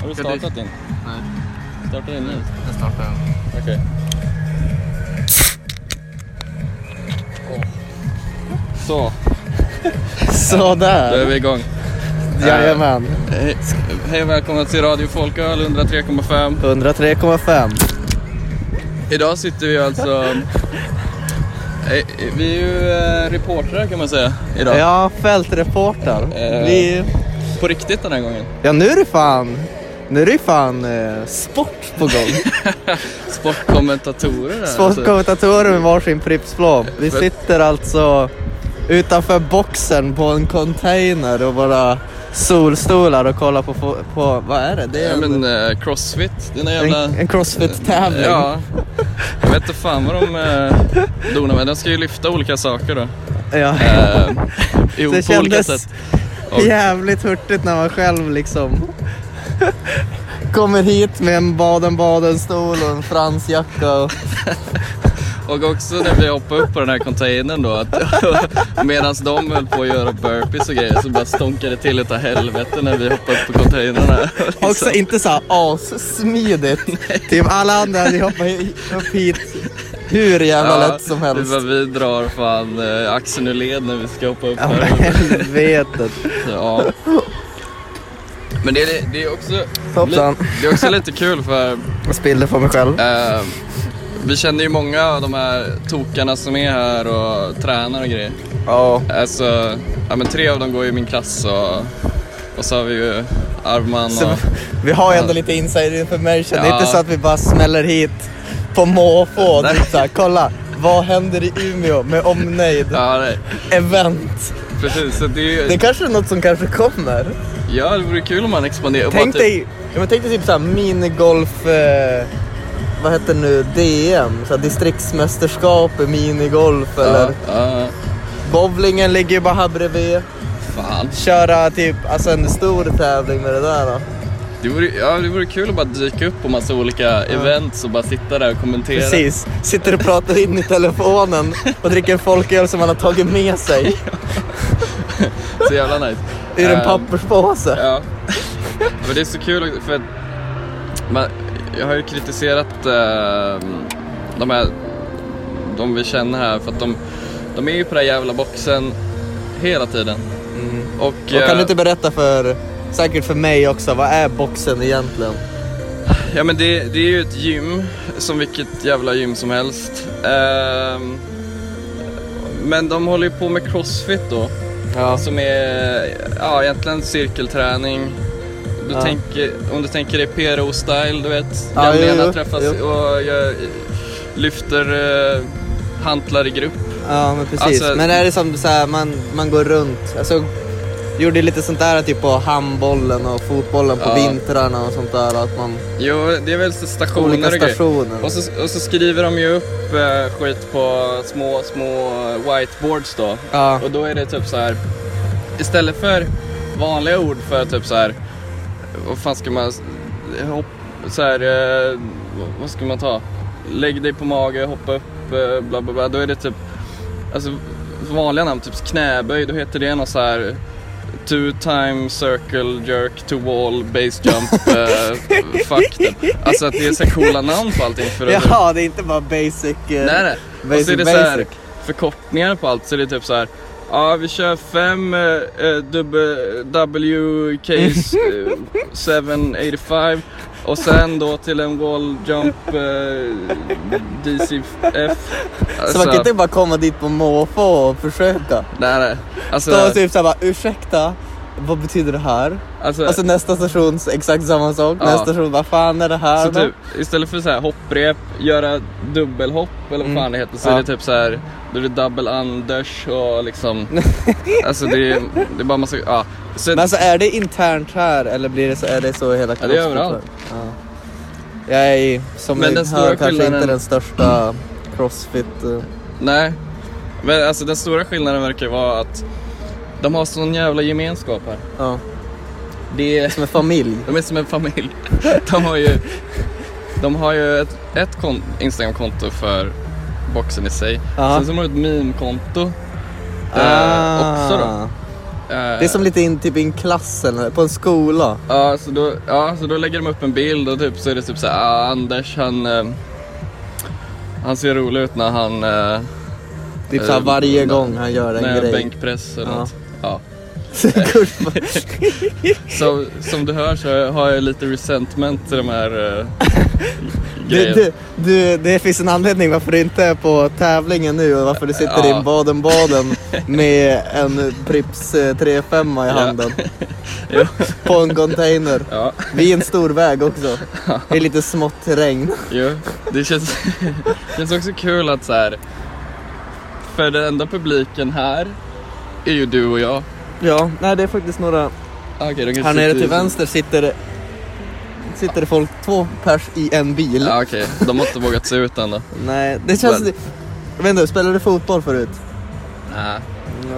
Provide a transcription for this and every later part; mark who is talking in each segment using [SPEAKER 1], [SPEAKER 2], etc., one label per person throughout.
[SPEAKER 1] Har du
[SPEAKER 2] Ska du-
[SPEAKER 1] startat din?
[SPEAKER 2] Nej,
[SPEAKER 1] Starta din nu.
[SPEAKER 2] jag startar den.
[SPEAKER 1] Okej. Så, då är
[SPEAKER 3] Sådär.
[SPEAKER 1] vi igång.
[SPEAKER 3] Jajamän.
[SPEAKER 1] Hej, hej och välkomna till Radio Folköl 103,5.
[SPEAKER 3] 103,5.
[SPEAKER 1] Idag sitter vi alltså... Eh, Vi är ju eh, reportrar kan man säga idag.
[SPEAKER 3] Ja, fältreportern.
[SPEAKER 1] Eh.
[SPEAKER 3] Vi...
[SPEAKER 1] På riktigt den här gången.
[SPEAKER 3] Ja, nu är det fan... Nu är det fan eh, sport på gång.
[SPEAKER 1] Sportkommentatorer här. alltså.
[SPEAKER 3] Sportkommentatorer med varsin Pripsblad. Vi
[SPEAKER 1] Men-
[SPEAKER 3] sitter alltså utanför boxen på en container och bara solstolar och kollar på... fo- på vad är det? Det är
[SPEAKER 1] Ja
[SPEAKER 3] en,
[SPEAKER 1] men eh, crossfit, dina jävla...
[SPEAKER 3] en, en crossfit-tävling.
[SPEAKER 1] Ja. Jag vet inte fan vad de eh, donar med. Den ska ju lyfta olika saker då.
[SPEAKER 3] Ja.
[SPEAKER 1] Eh, jo,
[SPEAKER 3] Det
[SPEAKER 1] på olika
[SPEAKER 3] kändes-
[SPEAKER 1] sätt. Och-
[SPEAKER 3] Jävligt hurtigt när man själv liksom kommer hit med en Baden-Baden-stol och en fransjacka. Och...
[SPEAKER 1] Och också när vi hoppade upp på den här containern då, att medan de höll på att göra burpees och grejer så bara stånkade det till utav helvete när vi hoppade upp på containern här.
[SPEAKER 3] Också inte så här assmidigt. Typ alla andra hade hoppat hi- upp hit hur jävla lätt som helst.
[SPEAKER 1] Vi, bara, vi drar fan eh, axeln ur led när vi ska hoppa upp
[SPEAKER 3] Ja, men
[SPEAKER 1] här.
[SPEAKER 3] helvetet.
[SPEAKER 1] Ja. Men det är, det är också...
[SPEAKER 3] Hoppsan.
[SPEAKER 1] Det är också lite kul för
[SPEAKER 3] Jag spillde för mig själv.
[SPEAKER 1] Eh, vi känner ju många av de här tokarna som är här och tränar och grejer.
[SPEAKER 3] Ja.
[SPEAKER 1] Alltså, ja, men tre av dem går ju i min klass och, och så har vi ju Arman
[SPEAKER 3] Så
[SPEAKER 1] och...
[SPEAKER 3] vi har ju ändå lite insider information. Det är inte
[SPEAKER 1] Ja.
[SPEAKER 3] så att vi bara smäller hit på måfå. Typ så här, kolla, vad händer i Umeå med omnejd?
[SPEAKER 1] Ja, det,
[SPEAKER 3] Event.
[SPEAKER 1] precis. Så det är ju,
[SPEAKER 3] Det kanske är något som kanske kommer.
[SPEAKER 1] Ja, det vore kul om man expanderar. och bara
[SPEAKER 3] Tänk dig, ja, men tänk dig typ såhär minigolf, eh, vad heter det nu, DM, såhär distriktsmästerskap i minigolf eller
[SPEAKER 1] Ja, ja,
[SPEAKER 3] bowlingen ligger ju bara här bredvid.
[SPEAKER 1] fan.
[SPEAKER 3] Köra typ alltså en stor tävling med det där då.
[SPEAKER 1] Det vore, ja, det vore kul att bara dyka upp på massa olika events och bara sitta där och kommentera.
[SPEAKER 3] Precis, sitter och pratar in i telefonen och dricker en folköl som man har tagit med sig
[SPEAKER 1] Så jävla nice.
[SPEAKER 3] ur en
[SPEAKER 1] Eh,
[SPEAKER 3] papperspåse.
[SPEAKER 1] Ja. Men det är så kul också, för att man, jag har ju kritiserat eh, de här, de vi känner här för att de, de är ju på den här jävla boxen hela tiden. Och,
[SPEAKER 3] Mm. Och
[SPEAKER 1] eh,
[SPEAKER 3] kan du inte berätta för, säkert för mig också, vad är boxen egentligen?
[SPEAKER 1] eh, Ja men det, det är ju ett gym, som vilket jävla gym som helst. Ehm, men de håller ju på med crossfit då.
[SPEAKER 3] Ja.
[SPEAKER 1] Som är Alltså ja, egentligen cirkelträning. Du
[SPEAKER 3] Ja.
[SPEAKER 1] tänker, om du tänker dig PRO-style, du vet.
[SPEAKER 3] Ja, jo,
[SPEAKER 1] Gamlingarna
[SPEAKER 3] jo,
[SPEAKER 1] träffas
[SPEAKER 3] jo.
[SPEAKER 1] och gör, lyfter eh, hantlar i grupp.
[SPEAKER 3] Ja men precis.
[SPEAKER 1] Alltså-
[SPEAKER 3] men är det som så här, man, man går runt? Alltså, gjorde lite sånt där typ på handbollen och fotbollen på
[SPEAKER 1] Ja.
[SPEAKER 3] vintrarna och sånt där. Att man,
[SPEAKER 1] Jo, det är väl så stationer
[SPEAKER 3] olika
[SPEAKER 1] och grejer.
[SPEAKER 3] stationer.
[SPEAKER 1] Och så, och så skriver de ju upp eh, skit på små, små whiteboards då.
[SPEAKER 3] ja.
[SPEAKER 1] Och då är det typ så här. Istället för vanliga ord för typ så här. Vad fan ska man... Hopp, så här, eh, vad ska man ta? Lägg dig på mage, hoppa upp, eh, bla bla bla. Då är det typ... Alltså vanliga namn, typ knäböj, då heter det något så här... Two time circle jerk to wall base jump eh, fuck them. Alltså att det är så här coola namn på allting för att
[SPEAKER 3] Jaha, det är inte bara basic. eh,
[SPEAKER 1] Nej, nej. och så är det så här förkortningar på allt, så det är typ så här. Ja, vi kör fem eh, eh, dubbe- WK eh, 785 och sen då till en wall jump eh, DCF. alltså-
[SPEAKER 3] Så man kan inte bara komma dit på måfå och försöka.
[SPEAKER 1] Nej, nej. Alltså,
[SPEAKER 3] Stå och typ såhär bara, ursäkta, vad betyder det här?
[SPEAKER 1] alltså,
[SPEAKER 3] Och så nästa station, så exakt samma sak.
[SPEAKER 1] Ja.
[SPEAKER 3] Nästa station, vad fan är det här
[SPEAKER 1] så
[SPEAKER 3] då?
[SPEAKER 1] typ, istället för så här hopprep, göra dubbelhopp eller vad fan det heter, så
[SPEAKER 3] Mm. Ja.
[SPEAKER 1] är det typ så här, då är det double unders och liksom, alltså det är, det är bara massa, ja. Så,
[SPEAKER 3] Men alltså är det internt här eller blir det så, är det så i hela
[SPEAKER 1] Ja, det är överallt.
[SPEAKER 3] Ja. Jag är ju, som
[SPEAKER 1] Men
[SPEAKER 3] ni
[SPEAKER 1] den stora
[SPEAKER 3] hör kanske
[SPEAKER 1] skillnaden-
[SPEAKER 3] inte den största crossfit... eh,
[SPEAKER 1] Nej, men alltså den stora skillnaden verkar vara att de har sån jävla gemenskap här.
[SPEAKER 3] Ja,
[SPEAKER 1] Det är,
[SPEAKER 3] som en familj.
[SPEAKER 1] de är som en familj. De har ju, de har ju ett, ett kon- Instagram-konto för boxen i sig.
[SPEAKER 3] Ja.
[SPEAKER 1] Sen så har de ett meme-konto. Eh,
[SPEAKER 3] Ah.
[SPEAKER 1] också då. Eh,
[SPEAKER 3] Det är som lite in, typ i en klass eller på en skola.
[SPEAKER 1] Ja så, då, ja, så då lägger de upp en bild och typ så är det typ så här, ah, Anders han... eh, Han ser rolig ut när han... eh,
[SPEAKER 3] Typ såhär
[SPEAKER 1] Eh,
[SPEAKER 3] varje
[SPEAKER 1] när-
[SPEAKER 3] gång han gör en
[SPEAKER 1] när
[SPEAKER 3] grej.
[SPEAKER 1] jag bänkpress eller
[SPEAKER 3] Ja.
[SPEAKER 1] något. Ja.
[SPEAKER 3] Kurva.
[SPEAKER 1] Så, som du hör så har jag lite resentment till de här eh,
[SPEAKER 3] du,
[SPEAKER 1] grejerna.
[SPEAKER 3] du, du, det finns en anledning varför du inte är på tävlingen nu och varför du sitter
[SPEAKER 1] Ja.
[SPEAKER 3] i Baden-Baden med en Pripps eh, 3-5 i handen. på en container.
[SPEAKER 1] Ja,
[SPEAKER 3] Vid en stor väg också. I lite smått terräng.
[SPEAKER 1] jo. Det känns, känns också kul att så här. För den enda publiken här är ju du och jag.
[SPEAKER 3] Ja, nej det är faktiskt några...
[SPEAKER 1] Ah, okej, de kanske
[SPEAKER 3] Här nere
[SPEAKER 1] sitter i-
[SPEAKER 3] till vänster sitter sitter det folk, två pers i en bil.
[SPEAKER 1] Ja, okej. De har inte vågat se ut än då.
[SPEAKER 3] Nej, det känns...
[SPEAKER 1] Men-
[SPEAKER 3] Jag vet inte, spelade du fotboll förut?
[SPEAKER 1] Nej.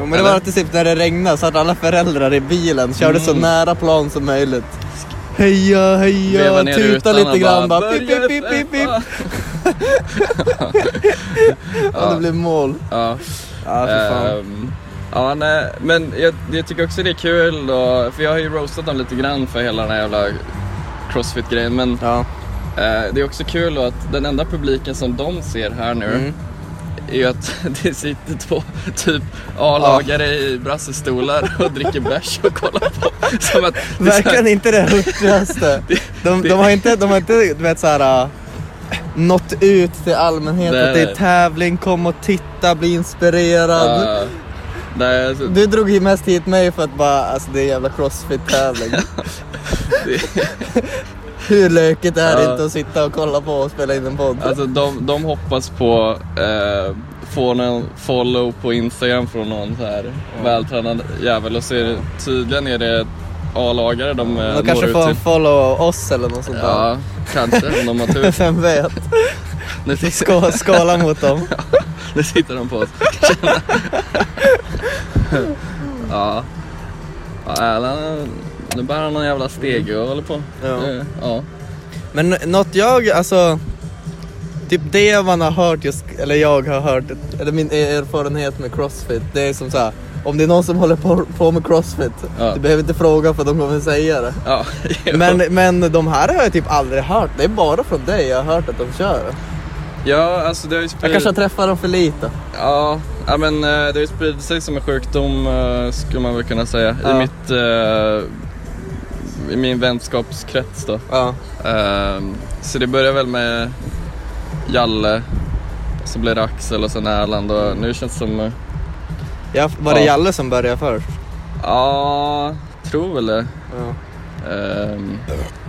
[SPEAKER 3] men det var alltid typ när det regnade så att alla föräldrar i bilen körde så
[SPEAKER 1] Mm.
[SPEAKER 3] nära plan som möjligt. Heja,
[SPEAKER 1] Veva
[SPEAKER 3] heja,
[SPEAKER 1] ner
[SPEAKER 3] tuta
[SPEAKER 1] rutan och
[SPEAKER 3] lite grann bara. Pip,
[SPEAKER 1] "Börja
[SPEAKER 3] pip, pip, pip, pip.
[SPEAKER 1] släppa!"
[SPEAKER 3] Ja, det blev mål.
[SPEAKER 1] Ja.
[SPEAKER 3] Ja, för fan.
[SPEAKER 1] Ehm, ja, nej, men jag, jag tycker också det är kul då, för jag har ju roastat dem lite grann för hela den här jävla crossfit-grejen. Men
[SPEAKER 3] Ja.
[SPEAKER 1] eh, det är också kul då att den enda publiken som de ser här nu
[SPEAKER 3] Mm.
[SPEAKER 1] är ju att det sitter två typ A-lagare i brassestolar och dricker bärs och kollar på. Som att det är så här-
[SPEAKER 3] Verkligen inte det hurtigaste. De, de har inte, de har inte du vet, så här, äh, nått ut till allmänheten.
[SPEAKER 1] Nej,
[SPEAKER 3] att Det är
[SPEAKER 1] nej.
[SPEAKER 3] tävling, kom och titta, bli inspirerad.
[SPEAKER 1] Ja, eh, nej, alltså,
[SPEAKER 3] Du drog ju mest hit mig för att bara, alltså det är en jävla crossfit-tävling.
[SPEAKER 1] det,
[SPEAKER 3] Hur löket är det
[SPEAKER 1] Ja.
[SPEAKER 3] inte att sitta och kolla på och spela in en podd?
[SPEAKER 1] alltså de, de hoppas på eh, få någon follow på Instagram från någon så här vältränad jävel och så är det, tydligen är det A-lagare de eh,
[SPEAKER 3] de kanske
[SPEAKER 1] når
[SPEAKER 3] får en
[SPEAKER 1] ut till.
[SPEAKER 3] follow av oss eller något sånt där.
[SPEAKER 1] Ja, kanske om de har tur.
[SPEAKER 3] Vem vet?
[SPEAKER 1] Nu sitter,
[SPEAKER 3] Ska, skala mot dem.
[SPEAKER 1] nu sitter de på oss. ja. ja eller, nu bär han någon jävla stege och håller på.
[SPEAKER 3] Ja.
[SPEAKER 1] Eh, ja.
[SPEAKER 3] Men något jag, alltså, typ det man har hört just, eller jag har hört, eller min erfarenhet med crossfit, det är som så här. Om det är någon som håller på, på med crossfit,
[SPEAKER 1] Ja.
[SPEAKER 3] du behöver inte fråga för de kommer säga det.
[SPEAKER 1] ja.
[SPEAKER 3] Men, men de här har jag typ aldrig hört, det är bara från dig jag har hört att de kör.
[SPEAKER 1] ja, alltså det har ju
[SPEAKER 3] Jag
[SPEAKER 1] spridit-
[SPEAKER 3] kanske har träffat dem för lite.
[SPEAKER 1] Ja, ja men eh, det har ju spridit sig som en sjukdom eh, skulle man väl kunna säga.
[SPEAKER 3] Ja.
[SPEAKER 1] I mitt... eh, I min vänskapskrets då.
[SPEAKER 3] Ja.
[SPEAKER 1] Ehm, så det började väl med Jalle, så blev det Axel och sen Erland och nu känns det som... eh,
[SPEAKER 3] Jag, var det
[SPEAKER 1] Ja.
[SPEAKER 3] Jalle som började först?
[SPEAKER 1] Ja, tror väl det.
[SPEAKER 3] Ja.
[SPEAKER 1] Ehm,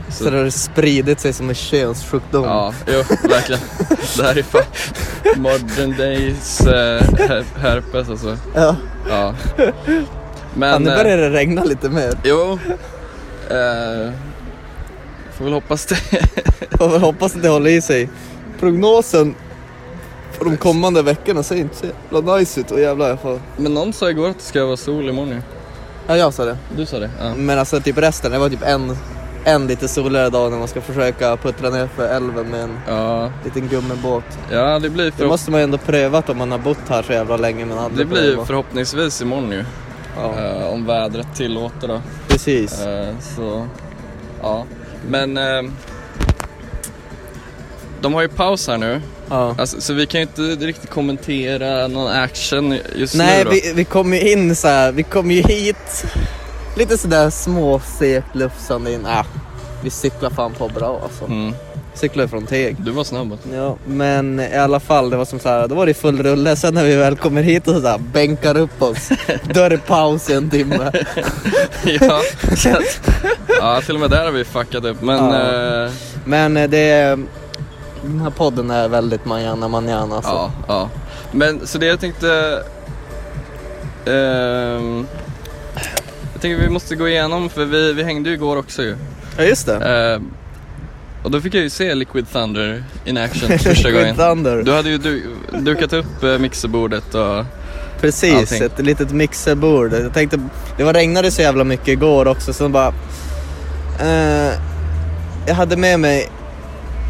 [SPEAKER 3] Så det har spridit sig som en könssjukdom.
[SPEAKER 1] ja, jo, verkligen. det här är fan modern days eh, her- herpes alltså.
[SPEAKER 3] Ja.
[SPEAKER 1] Ja.
[SPEAKER 3] Ja,
[SPEAKER 1] Men...
[SPEAKER 3] nu
[SPEAKER 1] eh,
[SPEAKER 3] börjar det regna lite mer.
[SPEAKER 1] Jo. Eh, får väl hoppas det.
[SPEAKER 3] Får väl hoppas att det håller i sig. Prognosen för de kommande veckorna ser inte så jävla nice ut. Och jävlar jag får...
[SPEAKER 1] Men någon sa igår att det ska vara sol imorgon ju.
[SPEAKER 3] Ja, jag sa det.
[SPEAKER 1] Du sa det? Ja.
[SPEAKER 3] Men alltså typ resten, det var typ en, en lite soligare dag när man ska försöka puttra ner för älven med en
[SPEAKER 1] Ja,
[SPEAKER 3] liten gummibåt.
[SPEAKER 1] ja det blir
[SPEAKER 3] Det
[SPEAKER 1] förhopp-
[SPEAKER 3] måste man ju ändå prövat om man har bott här så jävla länge men aldrig
[SPEAKER 1] det blir
[SPEAKER 3] prövat.
[SPEAKER 1] förhoppningsvis imorgon ju.
[SPEAKER 3] Ja,
[SPEAKER 1] Eh, om vädret tillåter då.
[SPEAKER 3] precis.
[SPEAKER 1] Eh, så, ja. Men ehm, de har ju paus här nu.
[SPEAKER 3] Ja.
[SPEAKER 1] Alltså, så vi kan ju inte riktigt kommentera någon action just nu
[SPEAKER 3] Nej,
[SPEAKER 1] då.
[SPEAKER 3] vi, vi kom ju in så här, vi kom ju hit lite sådär småsekt lufsande in. Ah, vi cyklar fan på bra alltså.
[SPEAKER 1] Mm.
[SPEAKER 3] Cyklar från Teg.
[SPEAKER 1] Du var snabb.
[SPEAKER 3] Ja, men i alla fall, det var som så här, då var det full rulle. Sen när vi väl kommer hit och så här, bänkar upp oss, då är det paus i en timme.
[SPEAKER 1] ja, så att, ja, till och med där har vi fuckat upp. Men
[SPEAKER 3] Ja.
[SPEAKER 1] eh,
[SPEAKER 3] Men eh, det, den här podden är väldigt manjana manjana. Alltså.
[SPEAKER 1] Ja, ja. Men så det jag tänkte... ehm, jag tänker vi måste gå igenom, för vi, vi hängde ju igår också ju.
[SPEAKER 3] ja, just det.
[SPEAKER 1] Ehm, och då fick jag ju se Liquid Thunder in action första gången.
[SPEAKER 3] Thunder.
[SPEAKER 1] Du hade ju du, dukat upp eh, mixerbordet och...
[SPEAKER 3] Precis,
[SPEAKER 1] allting.
[SPEAKER 3] ett litet mixerbord. Jag tänkte, det var regnade så jävla mycket igår också så bara... Eh, jag hade med mig...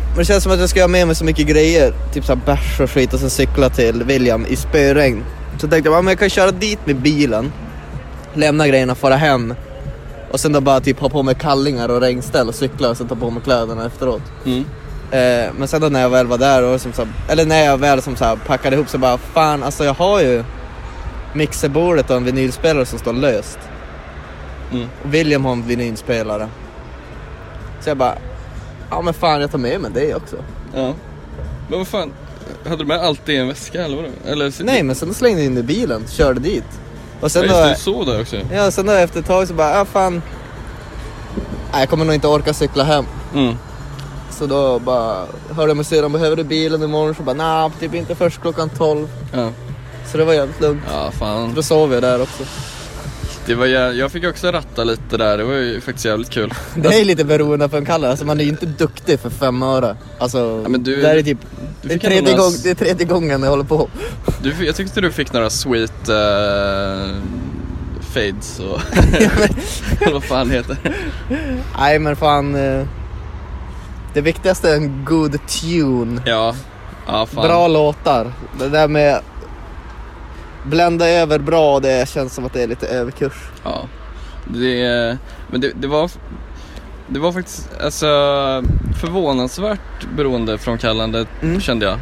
[SPEAKER 3] Men det känns som att jag ska ha med mig så mycket grejer. Typ såhär bärs och skit och sen cykla till William i spöregn. Så tänkte jag, bara, men jag kan köra dit med bilen. lämna grejerna, fara hem och sen då bara typ ha på mig kallingar och regnställ och cykla och sen ta på mig kläderna efteråt.
[SPEAKER 1] Mm.
[SPEAKER 3] Eh, men sen då när jag väl var där och som så här, eller när jag väl som så här packade ihop så bara fan alltså jag har ju mixerbordet och en vinylspelare som står löst.
[SPEAKER 1] Mm.
[SPEAKER 3] Och William har en vinylspelare. Så jag bara, ja men fan jag tar med mig det också.
[SPEAKER 1] Ja. Men vad fan, hade du med allt i en väska eller vadå? Eller,
[SPEAKER 3] Nej men sen slängde jag in det i bilen, körde dit. Och
[SPEAKER 1] Ja,
[SPEAKER 3] sen
[SPEAKER 1] just
[SPEAKER 3] då,
[SPEAKER 1] det, du såg där också.
[SPEAKER 3] ja, sen då efter ett tag så bara, ja fan. Nej, jag kommer nog inte orka cykla hem.
[SPEAKER 1] Mm.
[SPEAKER 3] Så då bara hörde jag med syrran, behöver du bilen imorgon? Så bara, nej typ inte först klockan 12.
[SPEAKER 1] Ja.
[SPEAKER 3] Så det var jävligt lugnt.
[SPEAKER 1] ja, fan.
[SPEAKER 3] Då sov jag där också.
[SPEAKER 1] Det var jä... Jag fick också ratta lite där, det var ju faktiskt jävligt kul.
[SPEAKER 3] Det är lite beroende på en kallare, alltså man är ju inte duktig för fem öre. Alltså,
[SPEAKER 1] Ja, men du-
[SPEAKER 3] det här är typ,
[SPEAKER 1] du
[SPEAKER 3] det är,
[SPEAKER 1] fick
[SPEAKER 3] tredje
[SPEAKER 1] ändå
[SPEAKER 3] gång,
[SPEAKER 1] några-
[SPEAKER 3] det är tredje gången jag håller på.
[SPEAKER 1] Du, fick- jag tyckte du fick några sweet eh, fades och eller vad fan det heter.
[SPEAKER 3] Nej men fan, eh, det viktigaste är en god tune.
[SPEAKER 1] Ja, ja fan.
[SPEAKER 3] Bra låtar. Det där med blända över bra, det känns som att det är lite överkurs.
[SPEAKER 1] Ja. Det, men det, det var det var faktiskt alltså, förvånansvärt beroendeframkallande
[SPEAKER 3] Mm.
[SPEAKER 1] kände jag.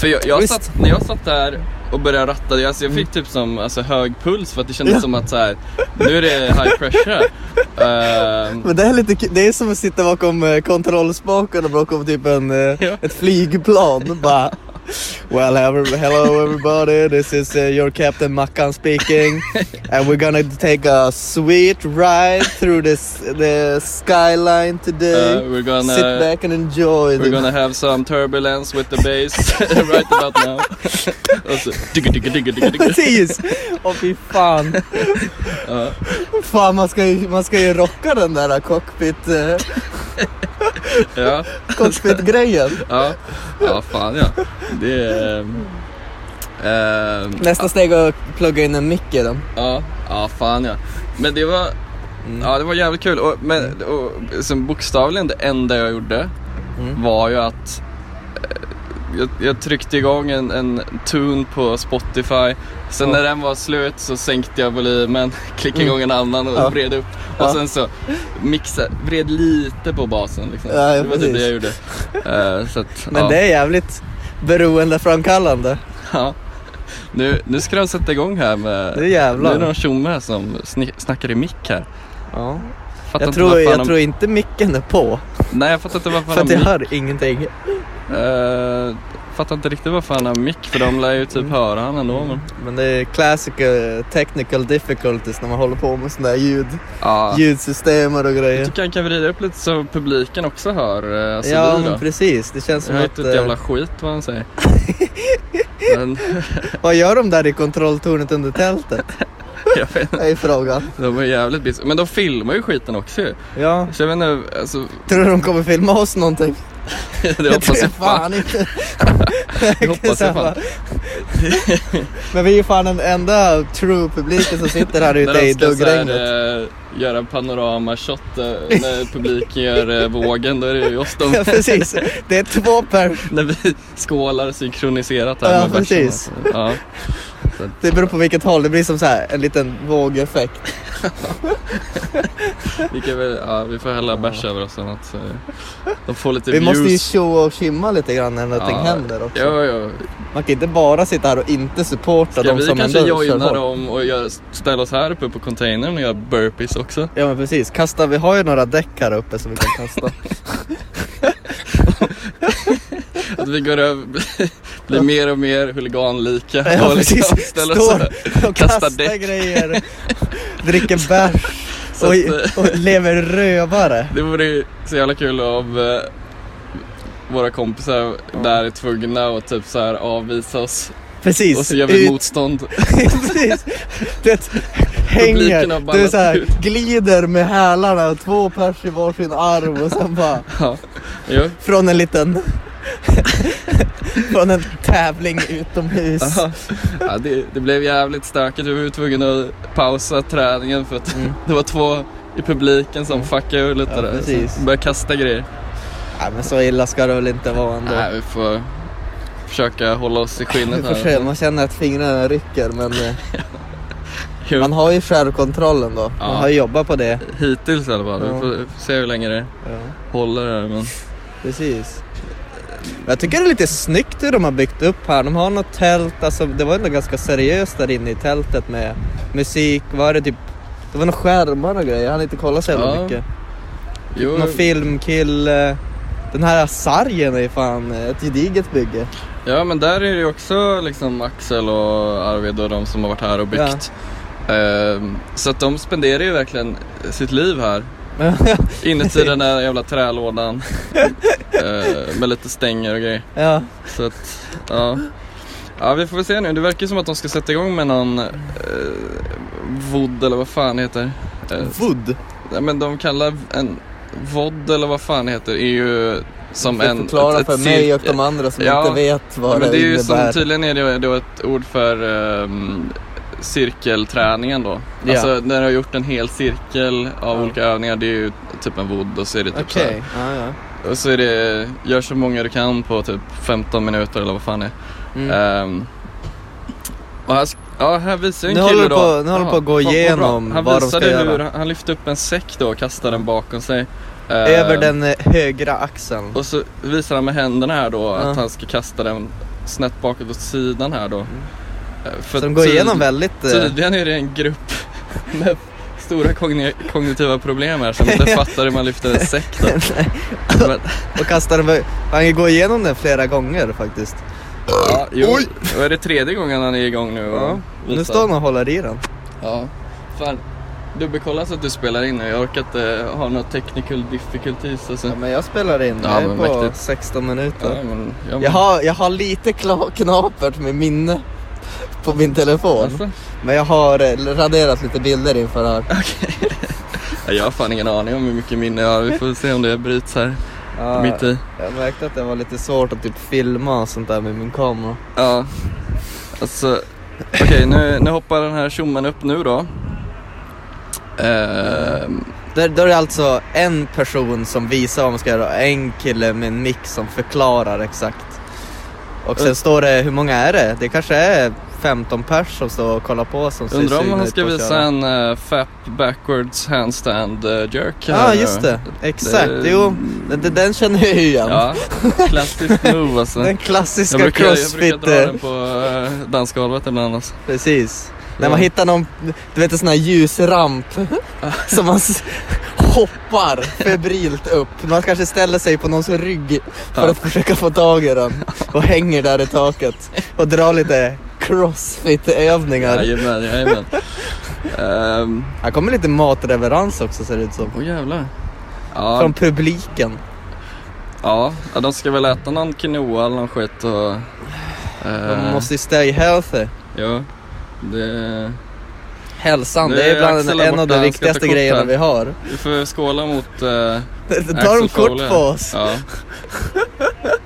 [SPEAKER 1] För jag, jag
[SPEAKER 3] Visst. Mm.
[SPEAKER 1] satt, när jag satt där och började ratta, jag, alltså, jag fick typ som alltså, hög puls för att det kändes
[SPEAKER 3] Ja.
[SPEAKER 1] som att så här, nu är det high pressure. Ehm,
[SPEAKER 3] Men det är lite kul. det är som att sitta bakom eh, kontrollspaken och bakom typ en, eh,
[SPEAKER 1] Ja.
[SPEAKER 3] ett flygplan. Bara, well, ever- hello everybody, this is eh, your captain Mackan speaking. And we're gonna take a sweet ride through this, the skyline today.
[SPEAKER 1] uh, we're gonna...
[SPEAKER 3] Sit back and enjoy.
[SPEAKER 1] We're gonna have some turbulence with the bass right about now. Och så, digga, digga, digga, digga, digga.
[SPEAKER 3] Precis! Åh fy fan.
[SPEAKER 1] Ja.
[SPEAKER 3] Fan man ska, ju, man ska ju rocka den där cockpit, eh,
[SPEAKER 1] ja,
[SPEAKER 3] cockpit-grejen.
[SPEAKER 1] ja, ja, fan ja. Det är... ehm,
[SPEAKER 3] Nästa steg är att plugga in en mick i den.
[SPEAKER 1] ja, ja, fan ja. Men det var,
[SPEAKER 3] Mm.
[SPEAKER 1] ja, det var jävligt kul. Och, men, och, sen bokstavligen det enda jag gjorde
[SPEAKER 3] Mm.
[SPEAKER 1] var ju att eh, jag, jag tryckte igång en, en tune på Spotify. Sen
[SPEAKER 3] Ja. Mm.
[SPEAKER 1] när den var slut så sänkte jag volymen, klickade igång en annan och
[SPEAKER 3] Ja.
[SPEAKER 1] vred upp. Och
[SPEAKER 3] Ja.
[SPEAKER 1] sen så mixa, vred lite på basen liksom.
[SPEAKER 3] Ja, ja,
[SPEAKER 1] det var typ
[SPEAKER 3] precis.
[SPEAKER 1] det jag gjorde. Eh, så att,
[SPEAKER 3] Men
[SPEAKER 1] ja.
[SPEAKER 3] det är jävligt beroendeframkallande.
[SPEAKER 1] Ja. Nu, nu ska de sätta igång här med...
[SPEAKER 3] Nu
[SPEAKER 1] Nu
[SPEAKER 3] jävlar.
[SPEAKER 1] är det någon tjomme här som sni- snackar i mick här.
[SPEAKER 3] Ja.
[SPEAKER 1] Fattar
[SPEAKER 3] Jag,
[SPEAKER 1] inte
[SPEAKER 3] tror,
[SPEAKER 1] vad fan
[SPEAKER 3] jag
[SPEAKER 1] de-
[SPEAKER 3] tror inte micken är på.
[SPEAKER 1] Nej, jag fattar inte vad fan
[SPEAKER 3] För att
[SPEAKER 1] de
[SPEAKER 3] jag hör ingenting.
[SPEAKER 1] Eh, fattar inte riktigt varför han har mick för de lär ju typ
[SPEAKER 3] Mm.
[SPEAKER 1] höra han ändå men...
[SPEAKER 3] Men det är classic eh, technical difficulties när man håller på med sådana där ljud,
[SPEAKER 1] Ja.
[SPEAKER 3] ljudsystem och
[SPEAKER 1] Jag
[SPEAKER 3] grejer.
[SPEAKER 1] tycker han kan vrida upp lite så publiken också hör. eh, Alltså
[SPEAKER 3] Ja
[SPEAKER 1] vi då.
[SPEAKER 3] men precis, det känns
[SPEAKER 1] Jag
[SPEAKER 3] som
[SPEAKER 1] hör
[SPEAKER 3] att...
[SPEAKER 1] inte ett
[SPEAKER 3] eh,
[SPEAKER 1] jävla skit vad han säger. men
[SPEAKER 3] eh, Vad gör de där i kontrolltornet under tältet?
[SPEAKER 1] jag vet inte.
[SPEAKER 3] Det är frågan.
[SPEAKER 1] De är jävligt busy. Men de filmar ju skiten också ju.
[SPEAKER 3] Ja.
[SPEAKER 1] Så jag vet inte, alltså.
[SPEAKER 3] Tror du de kommer filma oss någonting?
[SPEAKER 1] Det hoppas jag fan.
[SPEAKER 3] fan inte.
[SPEAKER 1] Det hoppas jag fan.
[SPEAKER 3] Men vi är ju fan den enda true publiken som sitter här
[SPEAKER 1] När
[SPEAKER 3] ute i
[SPEAKER 1] de ska så
[SPEAKER 3] duggregnet.
[SPEAKER 1] här, eh, göra panoramashot eh, när publiken gör eh, vågen då är det ju oss de...
[SPEAKER 3] Ja, precis. Det är två pers.
[SPEAKER 1] när vi skålar synkroniserat här
[SPEAKER 3] Ja,
[SPEAKER 1] med bärsen,
[SPEAKER 3] precis.
[SPEAKER 1] alltså. Ja. Så att-
[SPEAKER 3] Det beror på vilket håll. Det blir som så här en liten vågeffekt.
[SPEAKER 1] Vi, kan väl, ja, vi får hälla bärs över oss sen att så, de får lite
[SPEAKER 3] Vi
[SPEAKER 1] views.
[SPEAKER 3] måste ju tjoa och tjimma lite grann när någonting
[SPEAKER 1] Ja.
[SPEAKER 3] händer också.
[SPEAKER 1] Jo, jo.
[SPEAKER 3] Man kan inte bara sitta här och inte supporta
[SPEAKER 1] Ska
[SPEAKER 3] de
[SPEAKER 1] vi
[SPEAKER 3] som
[SPEAKER 1] kanske
[SPEAKER 3] ändå kör
[SPEAKER 1] joina
[SPEAKER 3] hårt.
[SPEAKER 1] dem och gör, ställa oss här uppe på containern och göra burpees också?
[SPEAKER 3] Ja men precis. Kasta, vi har ju några däck här uppe som vi kan kasta.
[SPEAKER 1] Att vi går över, blir, blir mer och mer huliganlika
[SPEAKER 3] Ja
[SPEAKER 1] och liksom
[SPEAKER 3] precis.
[SPEAKER 1] ställer oss
[SPEAKER 3] Står
[SPEAKER 1] här.
[SPEAKER 3] och
[SPEAKER 1] kastar
[SPEAKER 3] kastar
[SPEAKER 1] däck.
[SPEAKER 3] grejer. Dricker bärs.
[SPEAKER 1] Så att, eh,
[SPEAKER 3] Och, och lever rövare.
[SPEAKER 1] Det vore ju så jävla kul om eh, våra kompisar där är tvungna att typ så här avvisa oss
[SPEAKER 3] Precis.
[SPEAKER 1] och så gör vi
[SPEAKER 3] Ut-
[SPEAKER 1] motstånd.
[SPEAKER 3] Precis. Du vet, hänger,
[SPEAKER 1] Publiken har ballat
[SPEAKER 3] du är så här,
[SPEAKER 1] ut.
[SPEAKER 3] glider med hälarna och två pers i varsin arm och sen bara
[SPEAKER 1] Ja. Jo.
[SPEAKER 3] från en liten från en tävling utomhus.
[SPEAKER 1] Aha. Ja, det, det blev jävligt stökigt. Vi var ju tvungna att pausa träningen för att
[SPEAKER 3] Mm.
[SPEAKER 1] det var två i publiken som fuckade ur lite
[SPEAKER 3] Ja,
[SPEAKER 1] där.
[SPEAKER 3] precis.
[SPEAKER 1] Så Började kasta grejer.
[SPEAKER 3] Nej men så illa ska det väl inte vara ändå.
[SPEAKER 1] Nej, vi får försöka hålla oss i
[SPEAKER 3] Mm. Vi
[SPEAKER 1] skinnet
[SPEAKER 3] får
[SPEAKER 1] här.
[SPEAKER 3] se, man känner att fingrarna rycker men eh,
[SPEAKER 1] kul.
[SPEAKER 3] Man har ju självkontrollen då. Man
[SPEAKER 1] Ja.
[SPEAKER 3] har ju jobbat på det.
[SPEAKER 1] Hittills i alla fall.
[SPEAKER 3] Ja.
[SPEAKER 1] Vi får får se hur länge det
[SPEAKER 3] Ja,
[SPEAKER 1] håller här. Men...
[SPEAKER 3] precis. Jag tycker det är lite snyggt hur de har byggt upp här. De har något tält, alltså det var ändå ganska seriöst där inne i tältet med musik. Var det typ, det var några skärmar och grejer. Jag hann inte kolla så jävla
[SPEAKER 1] Ja.
[SPEAKER 3] mycket.
[SPEAKER 1] Jo,
[SPEAKER 3] Typ Någon filmkille. Den här sargen är ju fan ett gediget bygge.
[SPEAKER 1] ja men där är det ju också liksom Axel och Arvid och de som har varit här och byggt. Ehm, så att de spenderar ju verkligen sitt liv här. Inuti den där jävla trälådan. Ehm, med lite stänger och grejer.
[SPEAKER 3] ja.
[SPEAKER 1] Så att, ja. Ja, vi får väl se nu. Det verkar ju som att de ska sätta igång med någon eh, VOD eller vad fan det heter. Eh,
[SPEAKER 3] Wood.
[SPEAKER 1] nej, men de kallar en VOD eller vad fan det heter är ju som
[SPEAKER 3] Får
[SPEAKER 1] en...
[SPEAKER 3] förklara för mig och de andra som
[SPEAKER 1] Ja.
[SPEAKER 3] inte vet vad
[SPEAKER 1] Ja, men det är ju
[SPEAKER 3] innebär.
[SPEAKER 1] som, typ- tydligen är det då ett ord för ehm, cirkelträningen då.
[SPEAKER 3] Ja.
[SPEAKER 1] Alltså när du har gjort en hel cirkel av
[SPEAKER 3] Ja.
[SPEAKER 1] olika övningar, det är ju typ en VOD och så är det typ
[SPEAKER 3] Okej,
[SPEAKER 1] så här.
[SPEAKER 3] ja, ja.
[SPEAKER 1] Och så är det, gör så många du kan på typ 15 minuter eller vad fan det är.
[SPEAKER 3] Mm.
[SPEAKER 1] Ehm, och här, sk- ja, här visar ju en
[SPEAKER 3] Nu
[SPEAKER 1] kille
[SPEAKER 3] håller du
[SPEAKER 1] då.
[SPEAKER 3] på- nu håller du på att gå
[SPEAKER 1] vad- vad bra.
[SPEAKER 3] igenom
[SPEAKER 1] han
[SPEAKER 3] vad de
[SPEAKER 1] visade
[SPEAKER 3] ska
[SPEAKER 1] hur
[SPEAKER 3] göra.
[SPEAKER 1] Han, han lyfte upp en säck då och kastade den bakom sig. Ehm,
[SPEAKER 3] Över den eh, högra axeln.
[SPEAKER 1] Och så visar han med händerna här då
[SPEAKER 3] Ja.
[SPEAKER 1] att han ska kasta den snett bakåt åt sidan här då. Ehm, För
[SPEAKER 3] Så de går
[SPEAKER 1] tyd-
[SPEAKER 3] igenom väldigt... eh,
[SPEAKER 1] Tydligen är det en grupp med stora kogni- kognitiva problem här som inte fattar hur man lyfter en säck då.
[SPEAKER 3] eh,
[SPEAKER 1] Men,
[SPEAKER 3] och kastar den... vä- Han går igenom den flera gånger faktiskt.
[SPEAKER 1] ja, jo,
[SPEAKER 3] Oj!
[SPEAKER 1] och är det tredje gången han är igång nu och
[SPEAKER 3] Ja. Nu
[SPEAKER 1] visar?
[SPEAKER 3] står han och håller i den.
[SPEAKER 1] Ja, fan. Dubbelkolla så att du spelar in nu. Jag orkar inte ha några technical difficulties alltså.
[SPEAKER 3] Ja, men jag spelar in.
[SPEAKER 1] Ja,
[SPEAKER 3] jag är
[SPEAKER 1] men
[SPEAKER 3] på
[SPEAKER 1] mäktigt.
[SPEAKER 3] 16 minuter.
[SPEAKER 1] Ja, men, ja, men-
[SPEAKER 3] Jag har, jag har lite kla- knapert med minne på min telefon.
[SPEAKER 1] Alltså,
[SPEAKER 3] Men jag har eh, raderat lite bilder inför det här.
[SPEAKER 1] ja, jag har fan ingen aning om hur mycket minne jag har. Vi får se om det bryts här
[SPEAKER 3] Ja,
[SPEAKER 1] mitt i.
[SPEAKER 3] jag märkte att det var lite svårt att typ filma och sånt där med min kamera.
[SPEAKER 1] Ja, alltså. Okej, nu, nu hoppar den här tjommen upp nu då. Ehm,
[SPEAKER 3] Där, då är det alltså en person som visar vad man ska göra och en kille med en mick som förklarar exakt. Och sen
[SPEAKER 1] Mm.
[SPEAKER 3] står det, hur många är det? Det kanske är 15 pers som står och kollar på som ser
[SPEAKER 1] undrar om
[SPEAKER 3] sugna
[SPEAKER 1] han
[SPEAKER 3] ut
[SPEAKER 1] ska
[SPEAKER 3] på att
[SPEAKER 1] visa
[SPEAKER 3] köra.
[SPEAKER 1] en uh, fap backwards handstand eh, jerk
[SPEAKER 3] Ja ah,
[SPEAKER 1] här nu.
[SPEAKER 3] just det, exakt. Jo, den, den- den känner jag ju igen.
[SPEAKER 1] Ja, klassisk move alltså.
[SPEAKER 3] Den
[SPEAKER 1] Jag
[SPEAKER 3] klassiska
[SPEAKER 1] brukar, jag
[SPEAKER 3] crossfit.
[SPEAKER 1] brukar dra den på eh, dansgolvet ibland alltså.
[SPEAKER 3] Precis. När
[SPEAKER 1] Ja.
[SPEAKER 3] man hittar någon, du vet en sån här ljusramp som man s- hoppar febrilt upp. Man kanske ställer sig på någons rygg för
[SPEAKER 1] Ja.
[SPEAKER 3] att försöka få tag i den och hänger där i taket och drar lite crossfit-övningar.
[SPEAKER 1] Jajamän, jajamän. Ehm,
[SPEAKER 3] Här kommer lite matreverans också ser det ut som.
[SPEAKER 1] Åh jävlar. Ja,
[SPEAKER 3] Från publiken.
[SPEAKER 1] ja, ja, de ska väl äta någon quinoa eller någon skit och...
[SPEAKER 3] De
[SPEAKER 1] eh,
[SPEAKER 3] måste ju stay healthy.
[SPEAKER 1] Ja, det...
[SPEAKER 3] Hälsan,
[SPEAKER 1] Nu
[SPEAKER 3] det är
[SPEAKER 1] är
[SPEAKER 3] bland
[SPEAKER 1] Axel
[SPEAKER 3] en,
[SPEAKER 1] där
[SPEAKER 3] av
[SPEAKER 1] borta,
[SPEAKER 3] de
[SPEAKER 1] han ska
[SPEAKER 3] viktigaste
[SPEAKER 1] ta kort
[SPEAKER 3] grejerna
[SPEAKER 1] här.
[SPEAKER 3] vi har.
[SPEAKER 1] Vi får skåla mot uh,
[SPEAKER 3] Tar de kort på oss?
[SPEAKER 1] Ja.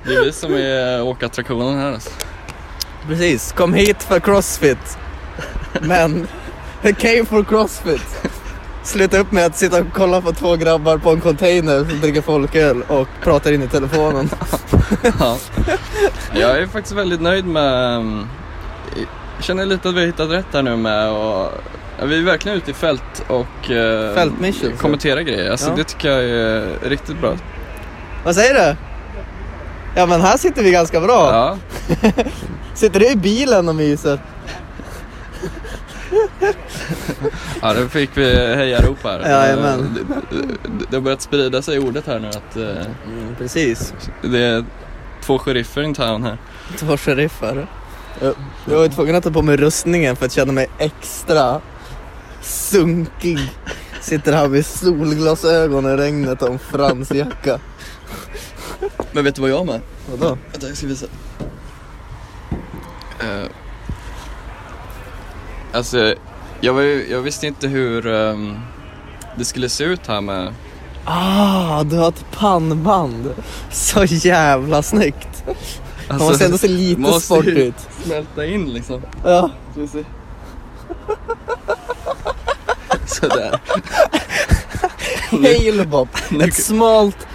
[SPEAKER 1] Det är vi som är åkattraktionen här alltså.
[SPEAKER 3] Precis, kom hit för crossfit. Men, they came for crossfit. Sluta upp med att sitta och kolla på två grabbar på en container som dricker folköl och pratar in i telefonen.
[SPEAKER 1] Ja. Jag är faktiskt väldigt nöjd med... ehm, Jag känner lite att vi har hittat rätt här nu med och... ja, Vi är verkligen ute i fält och eh,
[SPEAKER 3] Fältmissions,
[SPEAKER 1] kommentera grejer. Alltså
[SPEAKER 3] Ja.
[SPEAKER 1] det tycker jag är riktigt bra.
[SPEAKER 3] Vad säger du? Ja men här sitter vi ganska bra.
[SPEAKER 1] Ja.
[SPEAKER 3] Sitter du i bilen och myser?
[SPEAKER 1] Ja, då fick vi hejarop här.
[SPEAKER 3] Jajamän.
[SPEAKER 1] Det- det- Det har börjat sprida sig i ordet här nu att eh,
[SPEAKER 3] precis.
[SPEAKER 1] det är två sheriffer i town här.
[SPEAKER 3] Två sheriffer. Jag- Jag var ju tvungen att ta på mig rustningen för att känna mig extra sunkig. Sitter här med solglasögon i regnet och en fransjacka.
[SPEAKER 1] Men vet du vad jag har med?
[SPEAKER 3] Vadå?
[SPEAKER 1] Vänta, jag ska visa. Eh, alltså, jag, var ju, jag visste inte hur ehm, det skulle se ut här med...
[SPEAKER 3] Ah, du har ett pannband. Så jävla snyggt. Man måste ändå se lite
[SPEAKER 1] Alltså, måste
[SPEAKER 3] sport
[SPEAKER 1] ju-
[SPEAKER 3] ut.
[SPEAKER 1] smälta in liksom.
[SPEAKER 3] Ja.
[SPEAKER 1] Ska vi se. Sådär.
[SPEAKER 3] Hailbop. Ett smalt,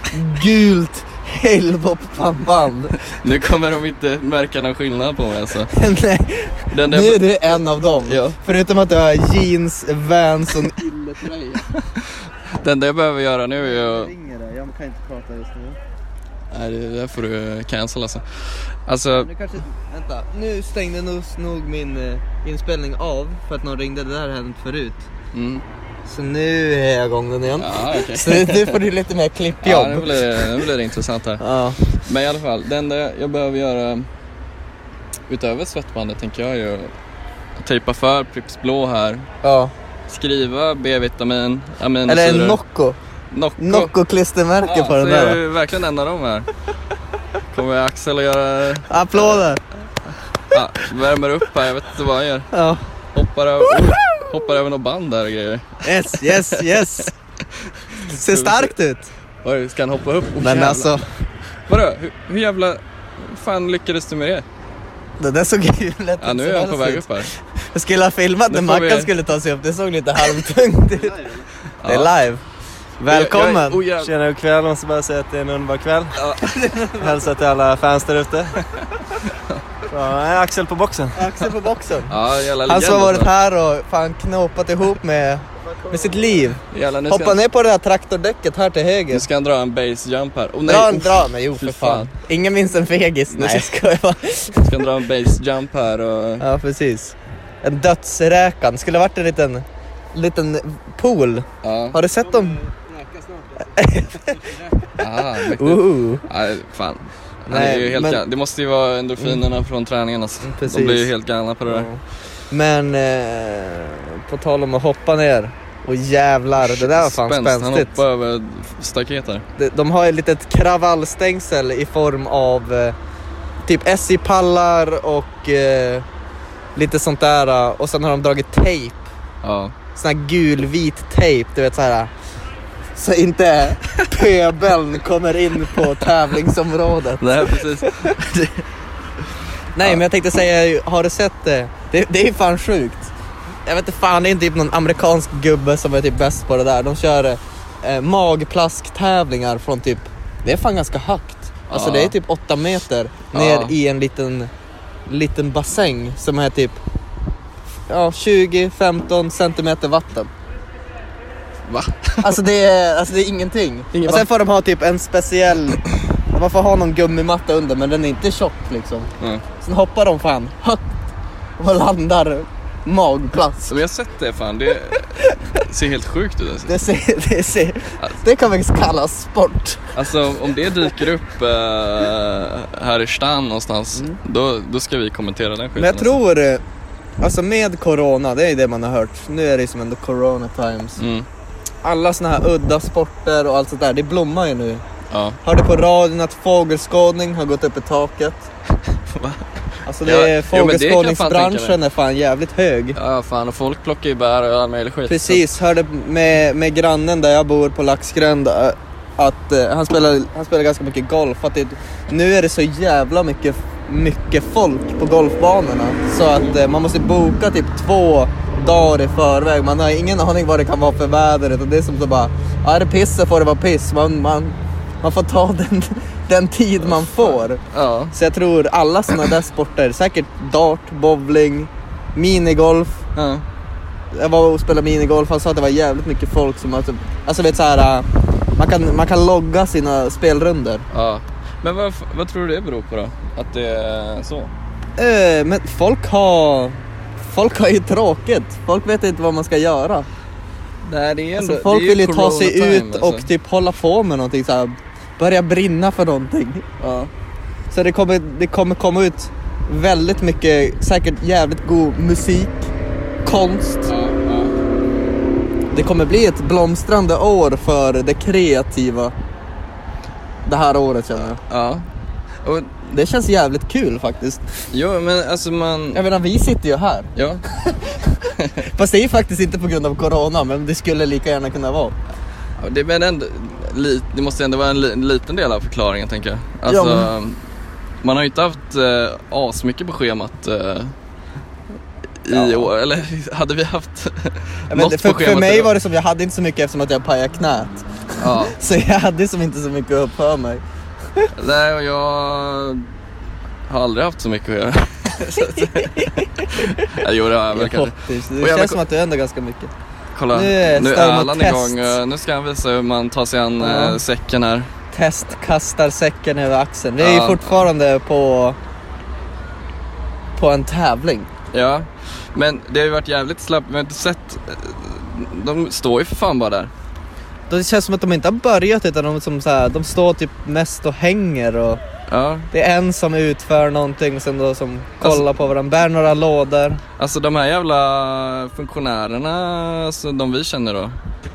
[SPEAKER 3] gult Hellbop-pannband.
[SPEAKER 1] Nu kommer de inte märka någon skillnad på mig alltså.
[SPEAKER 3] Nej,
[SPEAKER 1] Den
[SPEAKER 3] nu är du en av dem.
[SPEAKER 1] Ja.
[SPEAKER 3] Förutom att du har jeans, Vans och...
[SPEAKER 1] Det enda jag behöver göra nu är att...
[SPEAKER 3] ringer dig, jag kan inte prata just nu.
[SPEAKER 1] Nej, det där får du cancel alltså. Alltså,
[SPEAKER 3] Nu kanske... Vänta, nu stängde nog, nog min eh, inspelning av för att någon ringde. Det där har hänt förut.
[SPEAKER 1] mm.
[SPEAKER 3] Så nu är jag igång den igen.
[SPEAKER 1] ja okej.
[SPEAKER 3] Så nu får du lite mer
[SPEAKER 1] Ja, nu
[SPEAKER 3] klippjobb.
[SPEAKER 1] blir, nu blir det intressant här.
[SPEAKER 3] Ja,
[SPEAKER 1] Men i alla fall, det enda jag behöver göra utöver svettbandet tänker jag är att tejpa för Pripps blå här.
[SPEAKER 3] ja.
[SPEAKER 1] Skriva B-vitamin, aminosyror.
[SPEAKER 3] Eller en Nocco.
[SPEAKER 1] Nocco.
[SPEAKER 3] Nocco-klistermärke
[SPEAKER 1] Ja,
[SPEAKER 3] på den
[SPEAKER 1] så är
[SPEAKER 3] där.
[SPEAKER 1] du verkligen en av dem här. Kommer Axel att göra...
[SPEAKER 3] Applåder!
[SPEAKER 1] Ja, värmer upp här, jag vet inte vad han gör.
[SPEAKER 3] Ja.
[SPEAKER 1] Hoppar över, oh, hoppar över något band där och grejer.
[SPEAKER 3] Yes, yes, yes! Ser starkt ut!
[SPEAKER 1] Oj, ska han hoppa upp? Oh,
[SPEAKER 3] Men
[SPEAKER 1] jävlar.
[SPEAKER 3] alltså,
[SPEAKER 1] Vadå? Hur, hur jävla... Hur fan lyckades du med det?
[SPEAKER 3] det där såg ju lätt
[SPEAKER 1] Ja, nu
[SPEAKER 3] ut
[SPEAKER 1] är
[SPEAKER 3] som
[SPEAKER 1] han på
[SPEAKER 3] helst
[SPEAKER 1] väg
[SPEAKER 3] ut.
[SPEAKER 1] upp här.
[SPEAKER 3] Jag skulle ha filmat
[SPEAKER 1] Nu
[SPEAKER 3] när
[SPEAKER 1] får vi-
[SPEAKER 3] Mackan skulle ta sig upp, det såg lite halvtungt ut. Det
[SPEAKER 1] Ja.
[SPEAKER 3] är live. Välkommen!
[SPEAKER 1] Jag- jag- oh, jävlar.
[SPEAKER 2] Tjena och kväll, måste bara säga att det är en underbar kväll.
[SPEAKER 1] Ja.
[SPEAKER 2] Hälsa till alla fans där ute. Så, nej, Axel på boxen.
[SPEAKER 3] Axel på boxen.
[SPEAKER 1] Ja, jävla
[SPEAKER 3] Han som har
[SPEAKER 1] legend,
[SPEAKER 3] varit
[SPEAKER 1] alltså.
[SPEAKER 3] här och fan knåpat ihop med, med sitt liv.
[SPEAKER 1] Jävlar, nu ska,
[SPEAKER 3] Hoppa
[SPEAKER 1] han,
[SPEAKER 3] ner på det här traktordäcket här till höger.
[SPEAKER 1] nu ska han dra en base jump här. Oh, nej,
[SPEAKER 3] Dra en,
[SPEAKER 1] uff.
[SPEAKER 3] dra mig, jo för
[SPEAKER 1] fy
[SPEAKER 3] fan. Ingen minns en fegis. Nej, jag skojar bara.
[SPEAKER 1] Nu ska han dra en base jump här och...
[SPEAKER 3] Ja, precis. En dödsräkan. Skulle ha varit en liten, liten pool.
[SPEAKER 1] Ja,
[SPEAKER 3] Har du sett
[SPEAKER 1] Mm,
[SPEAKER 3] dem?
[SPEAKER 1] ah, mäktigt.
[SPEAKER 3] Ooh.
[SPEAKER 1] Nej, fan. Han
[SPEAKER 3] Uh. Nej,
[SPEAKER 1] är ju helt
[SPEAKER 3] men-
[SPEAKER 1] gal- Det måste ju vara endorfinerna från träningen alltså.
[SPEAKER 3] Mm,
[SPEAKER 1] De
[SPEAKER 3] precis.
[SPEAKER 1] blir ju helt galna på det där.
[SPEAKER 3] Ja. Men eh, på tal om att hoppa ner. Och jävlar, det där var fan
[SPEAKER 1] Han
[SPEAKER 3] spänstigt.
[SPEAKER 1] hoppade över staket här.
[SPEAKER 3] De, de har ett litet kravallstängsel i form av eh, typ SJ-pallar och eh, lite sånt där. eh, Och sen har de dragit tejp.
[SPEAKER 1] Ja.
[SPEAKER 3] Sån här gulvit tejp, du vet så här. Så inte pöbeln kommer in på tävlingsområdet.
[SPEAKER 1] Nej, precis.
[SPEAKER 3] Nej,
[SPEAKER 1] Ja.
[SPEAKER 3] men jag tänkte säga, har du sett det? Det, det är fan sjukt. Jag vet inte fan, det är typ någon amerikansk gubbe som är typ bäst på det där. De kör eh, magplasktävlingar från typ, det är fan ganska högt. Alltså
[SPEAKER 1] Ja.
[SPEAKER 3] det är typ åtta meter ner
[SPEAKER 1] Ja.
[SPEAKER 3] i en liten, liten bassäng som är typ ja, 20-15 centimeter vatten.
[SPEAKER 1] Va?
[SPEAKER 3] Alltså det är, alltså det är ingenting.
[SPEAKER 1] Ingen
[SPEAKER 3] och sen får de ha typ en speciell, man får ha någon gummimatta under men den är inte tjock liksom.
[SPEAKER 1] Mm.
[SPEAKER 3] Sen hoppar de fan högt och landar magplats.
[SPEAKER 1] Men jag har sett det fan. Det ser helt sjukt ut alltså.
[SPEAKER 3] Det, ser, det, ser, det kan väl kallas sport.
[SPEAKER 1] Alltså om det dyker upp eh, här i stan någonstans, då, då ska vi kommentera den skiten.
[SPEAKER 3] Mm. Men jag tror, eh, alltså med corona, det är ju det man har hört. Nu är det ju som ändå corona times.
[SPEAKER 1] Alltså. Mm,
[SPEAKER 3] Alla såna här udda sporter och allt sånt där, det blommar ju nu.
[SPEAKER 1] ja.
[SPEAKER 3] Hörde på radion att fågelskådning har gått upp i taket.
[SPEAKER 1] Va?
[SPEAKER 3] Alltså det
[SPEAKER 1] Ja,
[SPEAKER 3] är,
[SPEAKER 1] jo, men det kan jag fan tänka mig.
[SPEAKER 3] fågelskådningsbranschen är fan jävligt hög.
[SPEAKER 1] ja, fan och folk plockar ju bär och all möjlig skit.
[SPEAKER 3] Precis, hörde med, med grannen där jag bor på Laxgränd eh, att eh, han, spelar, han spelar ganska mycket golf. Att det, nu är det så jävla mycket, mycket folk på golfbanorna så att eh, man måste boka typ två dagar i förväg. Man har ingen aning vad det kan vara för väder utan det är som så bara, ja, är det piss så får det vara piss. Man, man, man får ta den, den tid man får.
[SPEAKER 1] Så, ja.
[SPEAKER 3] Så jag tror alla sådana där sporter, säkert dart, bowling, minigolf
[SPEAKER 1] ja.
[SPEAKER 3] jag var och spelade minigolf, han sa att det var jävligt mycket folk som alltså, alltså vet såhär, äh, man kan, man kan logga sina spelrunder.
[SPEAKER 1] ja. Men vad, vad tror du det beror på då? Att det är så?
[SPEAKER 3] Eh, men folk har, folk har ju tråkigt, folk vet inte vad man ska göra.
[SPEAKER 1] Nej, det är alltså.
[SPEAKER 3] Alltså, folk vill ju ta sig ut och typ hålla på med någonting såhär, börja brinna för någonting.
[SPEAKER 1] Ja.
[SPEAKER 3] Så det kommer, det kommer komma ut väldigt mycket, säkert jävligt god musik, konst.
[SPEAKER 1] Ja, ja.
[SPEAKER 3] Det kommer bli ett blomstrande år för det kreativa. Det här året känner jag.
[SPEAKER 1] ja. Och,
[SPEAKER 3] Det känns jävligt kul faktiskt.
[SPEAKER 1] jo, men alltså man...
[SPEAKER 3] Jag menar, vi sitter ju här.
[SPEAKER 1] Ja.
[SPEAKER 3] Fast det är ju faktiskt inte på grund av corona, men det skulle lika gärna kunna vara.
[SPEAKER 1] Ja, Det, men ändå, li, det måste ändå vara en, li, en liten del av förklaringen tänker jag. Alltså,
[SPEAKER 3] Ja,
[SPEAKER 1] Man har ju inte haft eh, asmycket på schemat eh, i
[SPEAKER 3] Ja.
[SPEAKER 1] år. Eller hade vi haft
[SPEAKER 3] Jag vet,
[SPEAKER 1] något
[SPEAKER 3] inte, för,
[SPEAKER 1] på schemat?
[SPEAKER 3] för mig
[SPEAKER 1] idag?
[SPEAKER 3] var det som, jag hade inte så mycket eftersom att jag pajade knät.
[SPEAKER 1] Ja,
[SPEAKER 3] Så jag hade som inte så mycket att upp för mig.
[SPEAKER 1] Nej, och jag har aldrig haft så mycket att göra. Så att- Nej, jo, det har jag väl kanske.
[SPEAKER 3] Poppis.
[SPEAKER 1] Och
[SPEAKER 3] Det
[SPEAKER 1] jag
[SPEAKER 3] känns
[SPEAKER 1] vill-
[SPEAKER 3] som att du ändå ganska mycket.
[SPEAKER 1] Kolla,
[SPEAKER 3] Nu
[SPEAKER 1] nu
[SPEAKER 3] är
[SPEAKER 1] är,
[SPEAKER 3] Sturm och
[SPEAKER 1] Allan
[SPEAKER 3] test.
[SPEAKER 1] igång. Eh, Nu ska han visa hur man tar sig an
[SPEAKER 3] Ja.
[SPEAKER 1] eh, säcken här.
[SPEAKER 3] Test kastar säcken över axeln. Vi är ju
[SPEAKER 1] Ja.
[SPEAKER 3] fortfarande på... På en tävling.
[SPEAKER 1] Ja, men det har ju varit jävligt slappt. Vi har inte sett... eh, De står ju för fan bara där.
[SPEAKER 3] Det känns som att de inte har börjat utan de, som så här, de står typ mest och hänger och
[SPEAKER 1] Ja,
[SPEAKER 3] det är en som utför någonting sen då som kollar
[SPEAKER 1] Alltså-
[SPEAKER 3] på varandra, bär några lådor.
[SPEAKER 1] alltså de här jävla funktionärerna, alltså, de vi känner då.
[SPEAKER 3] Mm.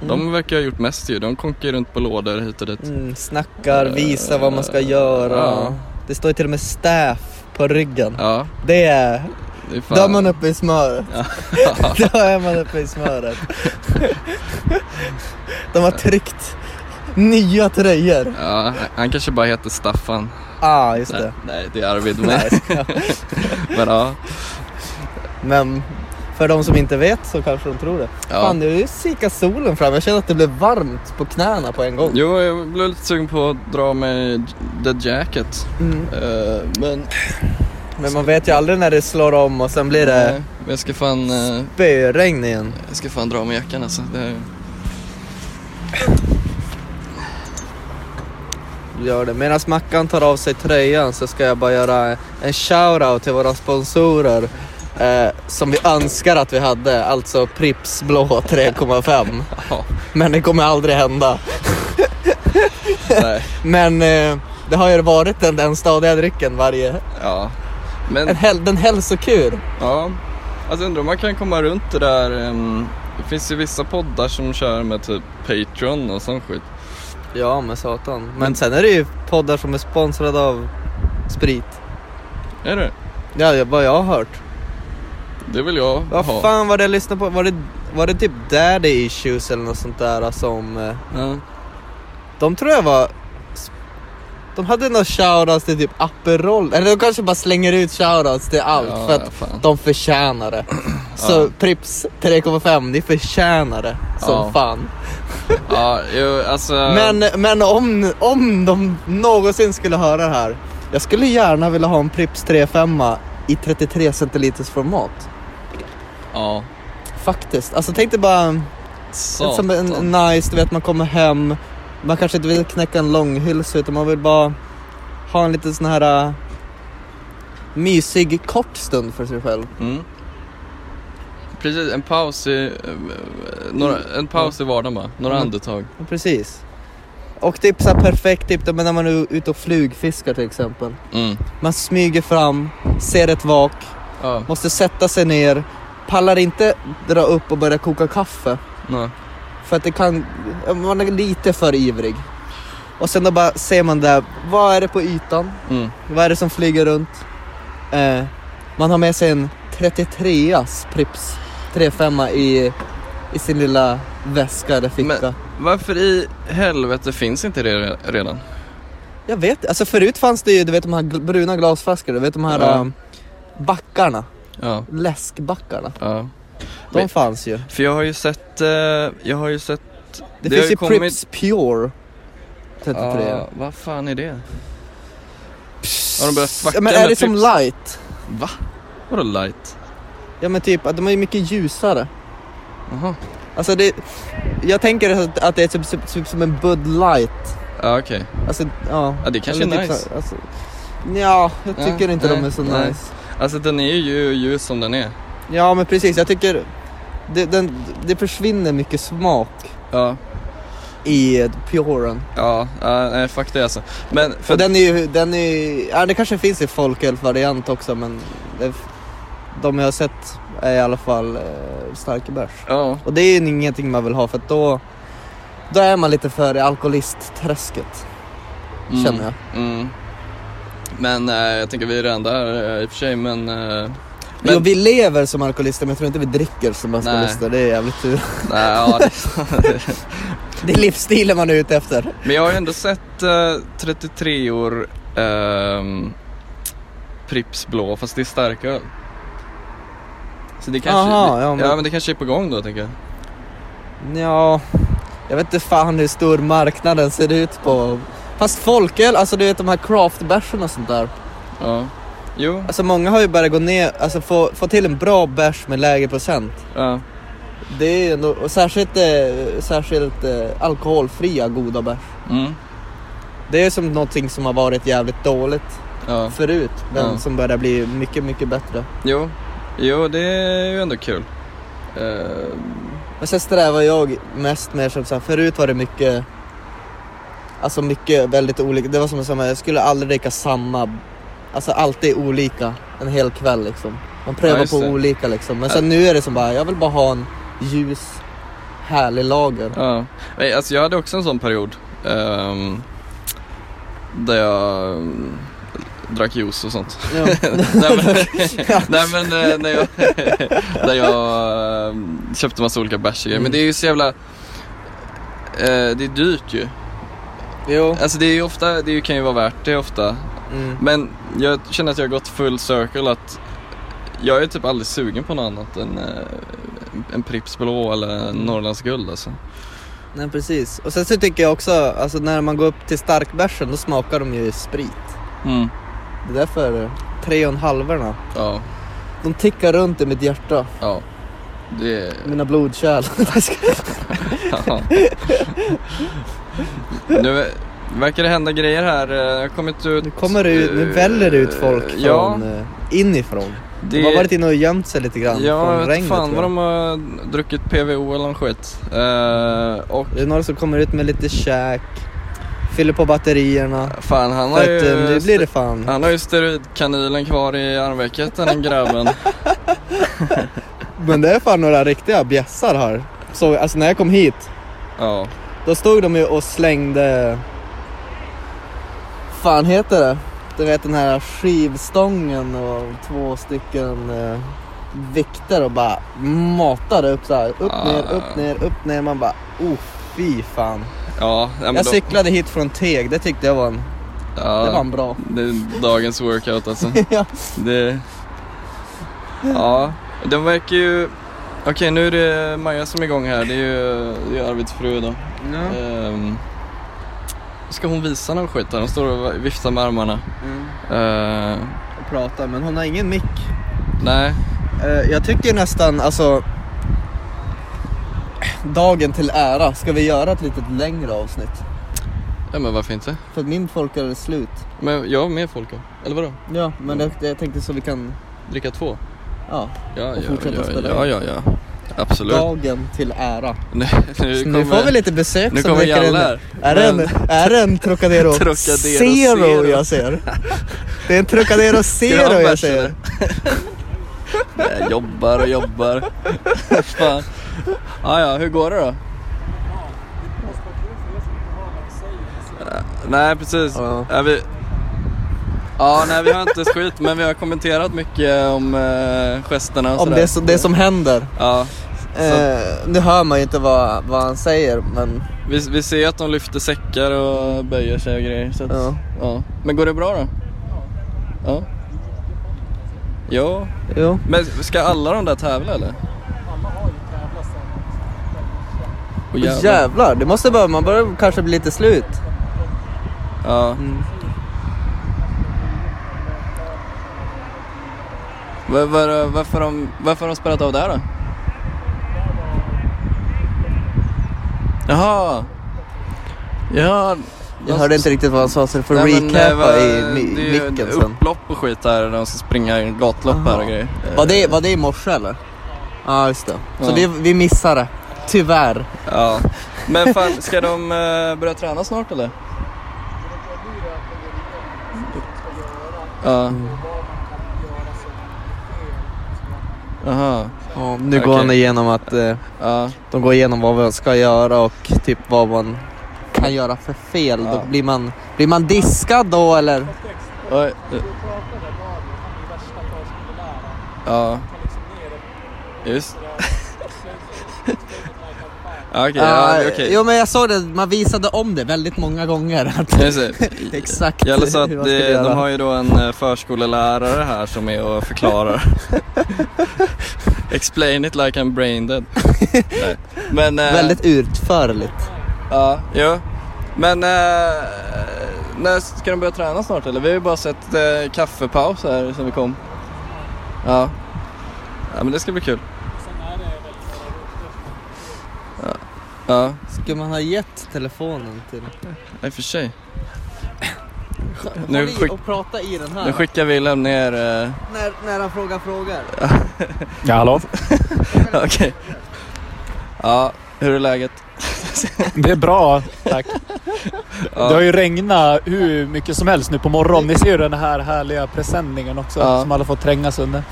[SPEAKER 1] De verkar ha gjort mest ju. De konkar ju runt på lådor hit och dit.
[SPEAKER 3] Mm, snackar, visar vad man ska göra.
[SPEAKER 1] Ja.
[SPEAKER 3] Det står ju till och med staff på ryggen.
[SPEAKER 1] Ja,
[SPEAKER 3] Det är...
[SPEAKER 1] det är fan.
[SPEAKER 3] Då är man uppe i smöret. Då är man uppe i smöret. De har tryckt nya tröjor.
[SPEAKER 1] Ja, han kanske bara heter Staffan.
[SPEAKER 3] ah, just
[SPEAKER 1] Nej,
[SPEAKER 3] det.
[SPEAKER 1] nej, det är Arvid. Men,
[SPEAKER 3] Nej, jag skojar.
[SPEAKER 1] men ja.
[SPEAKER 3] Men för de som inte vet så kanske de tror det.
[SPEAKER 1] Ja.
[SPEAKER 3] Fan, nu sikar solen fram. Jag känner att det blev varmt på knäna på en gång.
[SPEAKER 1] Jo, jag blev lite sugen på att dra mig the jacket.
[SPEAKER 3] Mm.
[SPEAKER 1] Eh, men
[SPEAKER 3] Men man vet ju aldrig när det slår om och sen blir det
[SPEAKER 1] Nej, men jag ska fan, eh,
[SPEAKER 3] spöregn igen.
[SPEAKER 1] jag ska fan dra mig jackan alltså. Det är...
[SPEAKER 3] Gör det. Medan Mackan tar av sig tröjan så ska jag bara göra en shoutout till våra sponsorer. Eh, som vi önskar att vi hade, alltså Pripps blå 3,5.
[SPEAKER 1] Ja,
[SPEAKER 3] Men det kommer aldrig hända.
[SPEAKER 1] nej,
[SPEAKER 3] Men eh, det har ju varit den, den stadiga drycken varje...
[SPEAKER 1] ja. Men
[SPEAKER 3] En häl, den hälsokur.
[SPEAKER 1] ja, alltså undrar om man kan komma runt det där. ehm, det finns ju vissa poddar som kör med typ Patreon och sån skit.
[SPEAKER 3] Ja men satan. Men sen är det ju poddar som är sponsrade av sprit.
[SPEAKER 1] Är det?
[SPEAKER 3] Ja, det är vad jag har hört.
[SPEAKER 1] Det vill jag
[SPEAKER 3] Vad
[SPEAKER 1] ha.
[SPEAKER 3] fan var det jag lyssnade på? Var det, var det typ Daddy Issues eller något sånt där som... eh,
[SPEAKER 1] Ja.
[SPEAKER 3] De tror jag var... De hade några shoutouts till typ Aperol. Eller de kanske bara slänger ut shoutouts till allt
[SPEAKER 1] Ja,
[SPEAKER 3] för att
[SPEAKER 1] ja, fan.
[SPEAKER 3] de förtjänar det. Så Prips 3,5, ni förtjänar det som
[SPEAKER 1] Ja.
[SPEAKER 3] fan.
[SPEAKER 1] ja, jo, alltså.
[SPEAKER 3] Men, men om, om de någonsin skulle höra det här. Jag skulle gärna vilja ha en Prips 3,5 i 33 centiliters format.
[SPEAKER 1] Ja,
[SPEAKER 3] Faktiskt. Alltså tänk dig bara...
[SPEAKER 1] satan.
[SPEAKER 3] Som en en nice, du vet man kommer hem, man kanske inte vill knäcka en långhylsa utan man vill bara ha en liten sån här äh, mysig kort stund för sig själv.
[SPEAKER 1] Mm. Precis, en paus i, eh, några, en paus i vardagen bara. Några
[SPEAKER 3] Mm.
[SPEAKER 1] andetag.
[SPEAKER 3] Ja, Precis. Och typ så här perfekt typ men när man är ute och flugfiskar till exempel.
[SPEAKER 1] Mm.
[SPEAKER 3] Man smyger fram, ser ett vak,
[SPEAKER 1] Ja,
[SPEAKER 3] måste sätta sig ner, pallar inte dra upp och börja koka kaffe.
[SPEAKER 1] nej.
[SPEAKER 3] För att det kan, man är lite för ivrig. Och sen då bara ser man där, vad är det på ytan?
[SPEAKER 1] Mm.
[SPEAKER 3] Vad är det som flyger runt? Eh, man har med sig en 33as Prips 35 i, i sin lilla väska eller ficka.
[SPEAKER 1] Men- Varför i helvete finns inte det re- redan?
[SPEAKER 3] Jag vet alltså förut fanns det ju, du vet de här gl- bruna glasflaskorna, du vet de här
[SPEAKER 1] Ja.
[SPEAKER 3] eh, backarna,
[SPEAKER 1] Ja.
[SPEAKER 3] läskbackarna.
[SPEAKER 1] ja.
[SPEAKER 3] De
[SPEAKER 1] Men-
[SPEAKER 3] fanns ju.
[SPEAKER 1] För jag har ju sett, eh, jag har ju sett Det
[SPEAKER 3] Det,
[SPEAKER 1] har
[SPEAKER 3] finns
[SPEAKER 1] ju
[SPEAKER 3] ju
[SPEAKER 1] kommit-
[SPEAKER 3] Prips Pure 33.
[SPEAKER 1] Ja, vad fan är det? Har de börjat fucka
[SPEAKER 3] ja, men
[SPEAKER 1] med
[SPEAKER 3] är det som
[SPEAKER 1] Prips?
[SPEAKER 3] light?
[SPEAKER 1] Va? Vadå light?
[SPEAKER 3] Ja men typ, att de är ju mycket ljusare.
[SPEAKER 1] Jaha.
[SPEAKER 3] Alltså det, jag tänker att, att det är typ, typ, typ som en Bud Light.
[SPEAKER 1] Ja okej.
[SPEAKER 3] Alltså, ja.
[SPEAKER 1] Ja, det kanske
[SPEAKER 3] Eller
[SPEAKER 1] är
[SPEAKER 3] typ
[SPEAKER 1] nice.
[SPEAKER 3] så- alltså, ja, jag
[SPEAKER 1] Ja,
[SPEAKER 3] tycker inte de
[SPEAKER 1] nej,
[SPEAKER 3] är så
[SPEAKER 1] nej.
[SPEAKER 3] nice.
[SPEAKER 1] Alltså den är ju ljus som den är.
[SPEAKER 3] Ja, men precis. Jag tycker det, den, det försvinner mycket smak
[SPEAKER 1] Ja.
[SPEAKER 3] i eh, puren.
[SPEAKER 1] Ja, ja, nej fuck det alltså. Men för
[SPEAKER 3] För den är ju, den är ju- ja, det kanske finns i folkölsvariant också men det, de jag har sett är i alla fall eh, starka bärs.
[SPEAKER 1] Ja.
[SPEAKER 3] Och det är ju ingenting man vill ha för att då, då är man lite för i alkoholist-träsket,
[SPEAKER 1] Mm.
[SPEAKER 3] känner jag.
[SPEAKER 1] Mm. Men eh, jag tänker vi är redan där eh, i och för sig men... eh,
[SPEAKER 3] Men...
[SPEAKER 1] Men-
[SPEAKER 3] Jo, vi lever som alkoholister men jag tror inte vi dricker som alkoholister, det är jävligt tur.
[SPEAKER 1] nej, ja, det...
[SPEAKER 3] Det är livsstilen man är ute efter.
[SPEAKER 1] Men jag har ju ändå sett eh, 33 år ehm, Pripps blå fast det är starköl. Så det kanske,
[SPEAKER 3] Aha, ja,
[SPEAKER 1] ja,
[SPEAKER 3] men-
[SPEAKER 1] men... det kanske är på gång då tänker jag.
[SPEAKER 3] Ja, jag vet inte fan hur stor marknaden ser ut på Fast folköl, alltså du vet de här craftbärsen och sånt där.
[SPEAKER 1] Ja. Jo.
[SPEAKER 3] Alltså många har ju börjat gå ner, alltså få, få till en bra bärs med lägre procent.
[SPEAKER 1] Ja.
[SPEAKER 3] Det är ju ändå, och särskilt, eh, särskilt eh, alkoholfria goda bärs.
[SPEAKER 1] Mm.
[SPEAKER 3] Det är som någonting som har varit jävligt dåligt
[SPEAKER 1] Ja.
[SPEAKER 3] förut, men
[SPEAKER 1] Ja.
[SPEAKER 3] som börjar bli mycket, mycket bättre.
[SPEAKER 1] Jo. Jo, det är ju ändå kul. Eh,
[SPEAKER 3] Men sen strävar jag mest med som så här, förut var det mycket, alltså mycket väldigt olika. Det var som att jag skulle aldrig dricka samma, alltså alltid olika en hel kväll liksom. Man prövar
[SPEAKER 1] Ja, just
[SPEAKER 3] på
[SPEAKER 1] det.
[SPEAKER 3] olika liksom. Men sen nu är det som bara, jag vill bara ha en ljus, härlig lager.
[SPEAKER 1] Ja. Nej, alltså jag hade också en sån period ehm, där jag ehm, drack juice och sånt.
[SPEAKER 3] Ja.
[SPEAKER 1] nej men, nej, men eh, när jag, där jag ehm, köpte massa olika bärs och grejer. Men det är ju så jävla, eh, det är dyrt ju.
[SPEAKER 3] Jo.
[SPEAKER 1] Alltså det är ju ofta, det kan ju vara värt det ofta.
[SPEAKER 3] Mm.
[SPEAKER 1] Men jag känner att jag har gått full circle att jag är typ aldrig sugen på något annat än eh, en Pripps Blå eller en Norrlands Guld alltså.
[SPEAKER 3] Nej precis. Och sen så tycker jag också, alltså när man går upp till starkbärsen då smakar de ju sprit.
[SPEAKER 1] Mm.
[SPEAKER 3] Det är därför tre och en halvorna,
[SPEAKER 1] Ja,
[SPEAKER 3] de tickar runt i mitt hjärta,
[SPEAKER 1] ja. Det
[SPEAKER 3] mina blodkärl.
[SPEAKER 1] Ja. nu verkar det hända grejer här. Eh, Jag har kommit ut...
[SPEAKER 3] Nu kommer det ut, nu väller det ut folk från,
[SPEAKER 1] eh, Ja,
[SPEAKER 3] eh, inifrån.
[SPEAKER 1] det...
[SPEAKER 3] De har varit inne och gömt sig lite grann
[SPEAKER 1] Ja, jag
[SPEAKER 3] från
[SPEAKER 1] vet inte
[SPEAKER 3] regnet.
[SPEAKER 1] fan
[SPEAKER 3] tror
[SPEAKER 1] vad
[SPEAKER 3] jag.
[SPEAKER 1] de har druckit PVO eller någon skit. Eh, och
[SPEAKER 3] Det är några som kommer ut med lite käk, fyller på batterierna.
[SPEAKER 1] fan han har
[SPEAKER 3] För att eh, nu
[SPEAKER 1] ju...
[SPEAKER 3] blir det fan,
[SPEAKER 1] Han har ju steroidkanylen kvar i armvecket den där grabben.
[SPEAKER 3] men det är fan några riktiga bjässar här. Så, alltså när jag kom hit,
[SPEAKER 1] Ja.
[SPEAKER 3] Då stod de ju och slängde... fan heter det? Du vet den här skivstången och två stycken eh, vikter och bara matade upp så här. Upp,
[SPEAKER 1] Ah.
[SPEAKER 3] ner, upp, ner, upp, ner. Man bara, oh fy fan.
[SPEAKER 1] Ja, nej, men
[SPEAKER 3] Jag
[SPEAKER 1] då-
[SPEAKER 3] cyklade hit från Teg, det tyckte jag var en,
[SPEAKER 1] ja,
[SPEAKER 3] det var en bra.
[SPEAKER 1] Det är dagens workout alltså.
[SPEAKER 3] Ja.
[SPEAKER 1] Det... Ja, de verkar ju... Okej, nu är det Maja som är igång här. Det är ju, det är Arvids fru då. Ehm, Ska hon visa någon skit här? Hon står och viftar med armarna. Ehm,
[SPEAKER 3] Och prata, men hon har ingen mick.
[SPEAKER 1] nej.
[SPEAKER 3] Eh, jag tycker nästan, alltså... Dagen till ära, ska vi göra ett lite längre avsnitt?
[SPEAKER 1] Ja, men varför inte?
[SPEAKER 3] För att min folk är slut.
[SPEAKER 1] Men jag har med folk då. Eller vadå?
[SPEAKER 3] Ja, men det, jag tänkte så vi kan,
[SPEAKER 1] Dricka två?
[SPEAKER 3] ja,
[SPEAKER 1] Ja,
[SPEAKER 3] Och
[SPEAKER 1] ja,
[SPEAKER 3] fortsätta
[SPEAKER 1] ja,
[SPEAKER 3] spela
[SPEAKER 1] ja,
[SPEAKER 3] in.
[SPEAKER 1] ja, ja. Absolut.
[SPEAKER 3] dagen till ära.
[SPEAKER 1] Nu, nu
[SPEAKER 3] Nu,
[SPEAKER 1] kommer...
[SPEAKER 3] får vi lite besök
[SPEAKER 1] nu
[SPEAKER 3] som
[SPEAKER 1] kommer
[SPEAKER 3] dricker en-
[SPEAKER 1] Jalle här.
[SPEAKER 3] Är det en,
[SPEAKER 1] Men-
[SPEAKER 3] är det en Trocadero,
[SPEAKER 1] Trocadero
[SPEAKER 3] Zero
[SPEAKER 1] Zero.
[SPEAKER 3] jag ser? Det är en Trocadero
[SPEAKER 1] Ska du
[SPEAKER 3] Zero
[SPEAKER 1] ha en
[SPEAKER 3] jag
[SPEAKER 1] bärs,
[SPEAKER 3] ser.
[SPEAKER 1] eller? Nej, Jag jobbar och jobbar. Fan. Ah, ja, hur går det då? Eh, Nej, precis.
[SPEAKER 3] Ja.
[SPEAKER 1] Ja, vi... ja, nej vi har inte ett skit, men vi har kommenterat mycket om eh, gesterna och
[SPEAKER 3] Om
[SPEAKER 1] sådär.
[SPEAKER 3] det, som- det som händer.
[SPEAKER 1] Ja,
[SPEAKER 3] Eh, nu hör man ju inte vad, vad han säger, men
[SPEAKER 1] vi, vi ser att de lyfter säckar och böjer sig och grejer. Så att,
[SPEAKER 3] Ja.
[SPEAKER 1] ja. Men går det bra då? Ja. Jo,
[SPEAKER 3] jo.
[SPEAKER 1] men ska alla de där tävla eller? Alla har ju tävlat sen.
[SPEAKER 3] Jävlar. Jävlar, det måste börja, man börjar kanske bli lite slut.
[SPEAKER 1] Ja.
[SPEAKER 3] Mm.
[SPEAKER 1] Var, var, varför, har de, varför har de spärrat av där då? Jaha. Ja.
[SPEAKER 3] Jag hörde inte riktigt vad han sa så du får
[SPEAKER 1] Nej, men, eh,
[SPEAKER 3] recapa
[SPEAKER 1] vad-
[SPEAKER 3] i mi-
[SPEAKER 1] det är ju
[SPEAKER 3] micken sen.
[SPEAKER 1] Upplopp och skit här, de ska springa gatlopp här och
[SPEAKER 3] Jaha.
[SPEAKER 1] grejer.
[SPEAKER 3] Var det, var det i morse eller? Ja just det. Så
[SPEAKER 1] Ja.
[SPEAKER 3] det, vi missade det. Tyvärr.
[SPEAKER 1] Ja. Men fan, ska de eh, börja träna snart eller? Ja. Aha.
[SPEAKER 3] Ja, nu
[SPEAKER 1] Okej.
[SPEAKER 3] går han igenom att eh,
[SPEAKER 1] Ja.
[SPEAKER 3] de går igenom vad man ska göra och typ vad man kan göra för fel.
[SPEAKER 1] Ja.
[SPEAKER 3] Då blir, man, blir man diskad då eller?
[SPEAKER 1] Oj. Ja. Just. Ja, Okej, ja, det är okej.
[SPEAKER 3] Ah, Jo men jag såg det, man visade om det väldigt många gånger. Att,
[SPEAKER 1] Just det.
[SPEAKER 3] exakt
[SPEAKER 1] Gäller så att
[SPEAKER 3] hur man skulle
[SPEAKER 1] det,
[SPEAKER 3] göra.
[SPEAKER 1] de har ju då en eh, förskolelärare här som är och förklarar. Explain it like I'm brain dead. Nej. Men, eh,
[SPEAKER 3] Väldigt utförligt.
[SPEAKER 1] Ja, jo. Men eh, när ska de börja träna snart eller? Vi har ju bara sett eh, kaffepaus här sen vi kom. Ja. Ja men det ska bli kul. Ja,
[SPEAKER 3] Ska man ha gett telefonen till...
[SPEAKER 1] ja i och för sig. Nu
[SPEAKER 3] Håll i
[SPEAKER 1] skick-
[SPEAKER 3] och prata i den här.
[SPEAKER 1] Nu skickar Wilhelm ner... eh,
[SPEAKER 3] när, när han frågar frågor.
[SPEAKER 4] Ja, hallå?
[SPEAKER 1] Okej. Ja, hur är läget?
[SPEAKER 4] Det är bra, tack. Det
[SPEAKER 1] Ja.
[SPEAKER 4] har ju regnat hur mycket som helst nu på morgonen. Ni ser ju den här härliga presenningen också
[SPEAKER 1] Ja.
[SPEAKER 4] som alla får trängas under.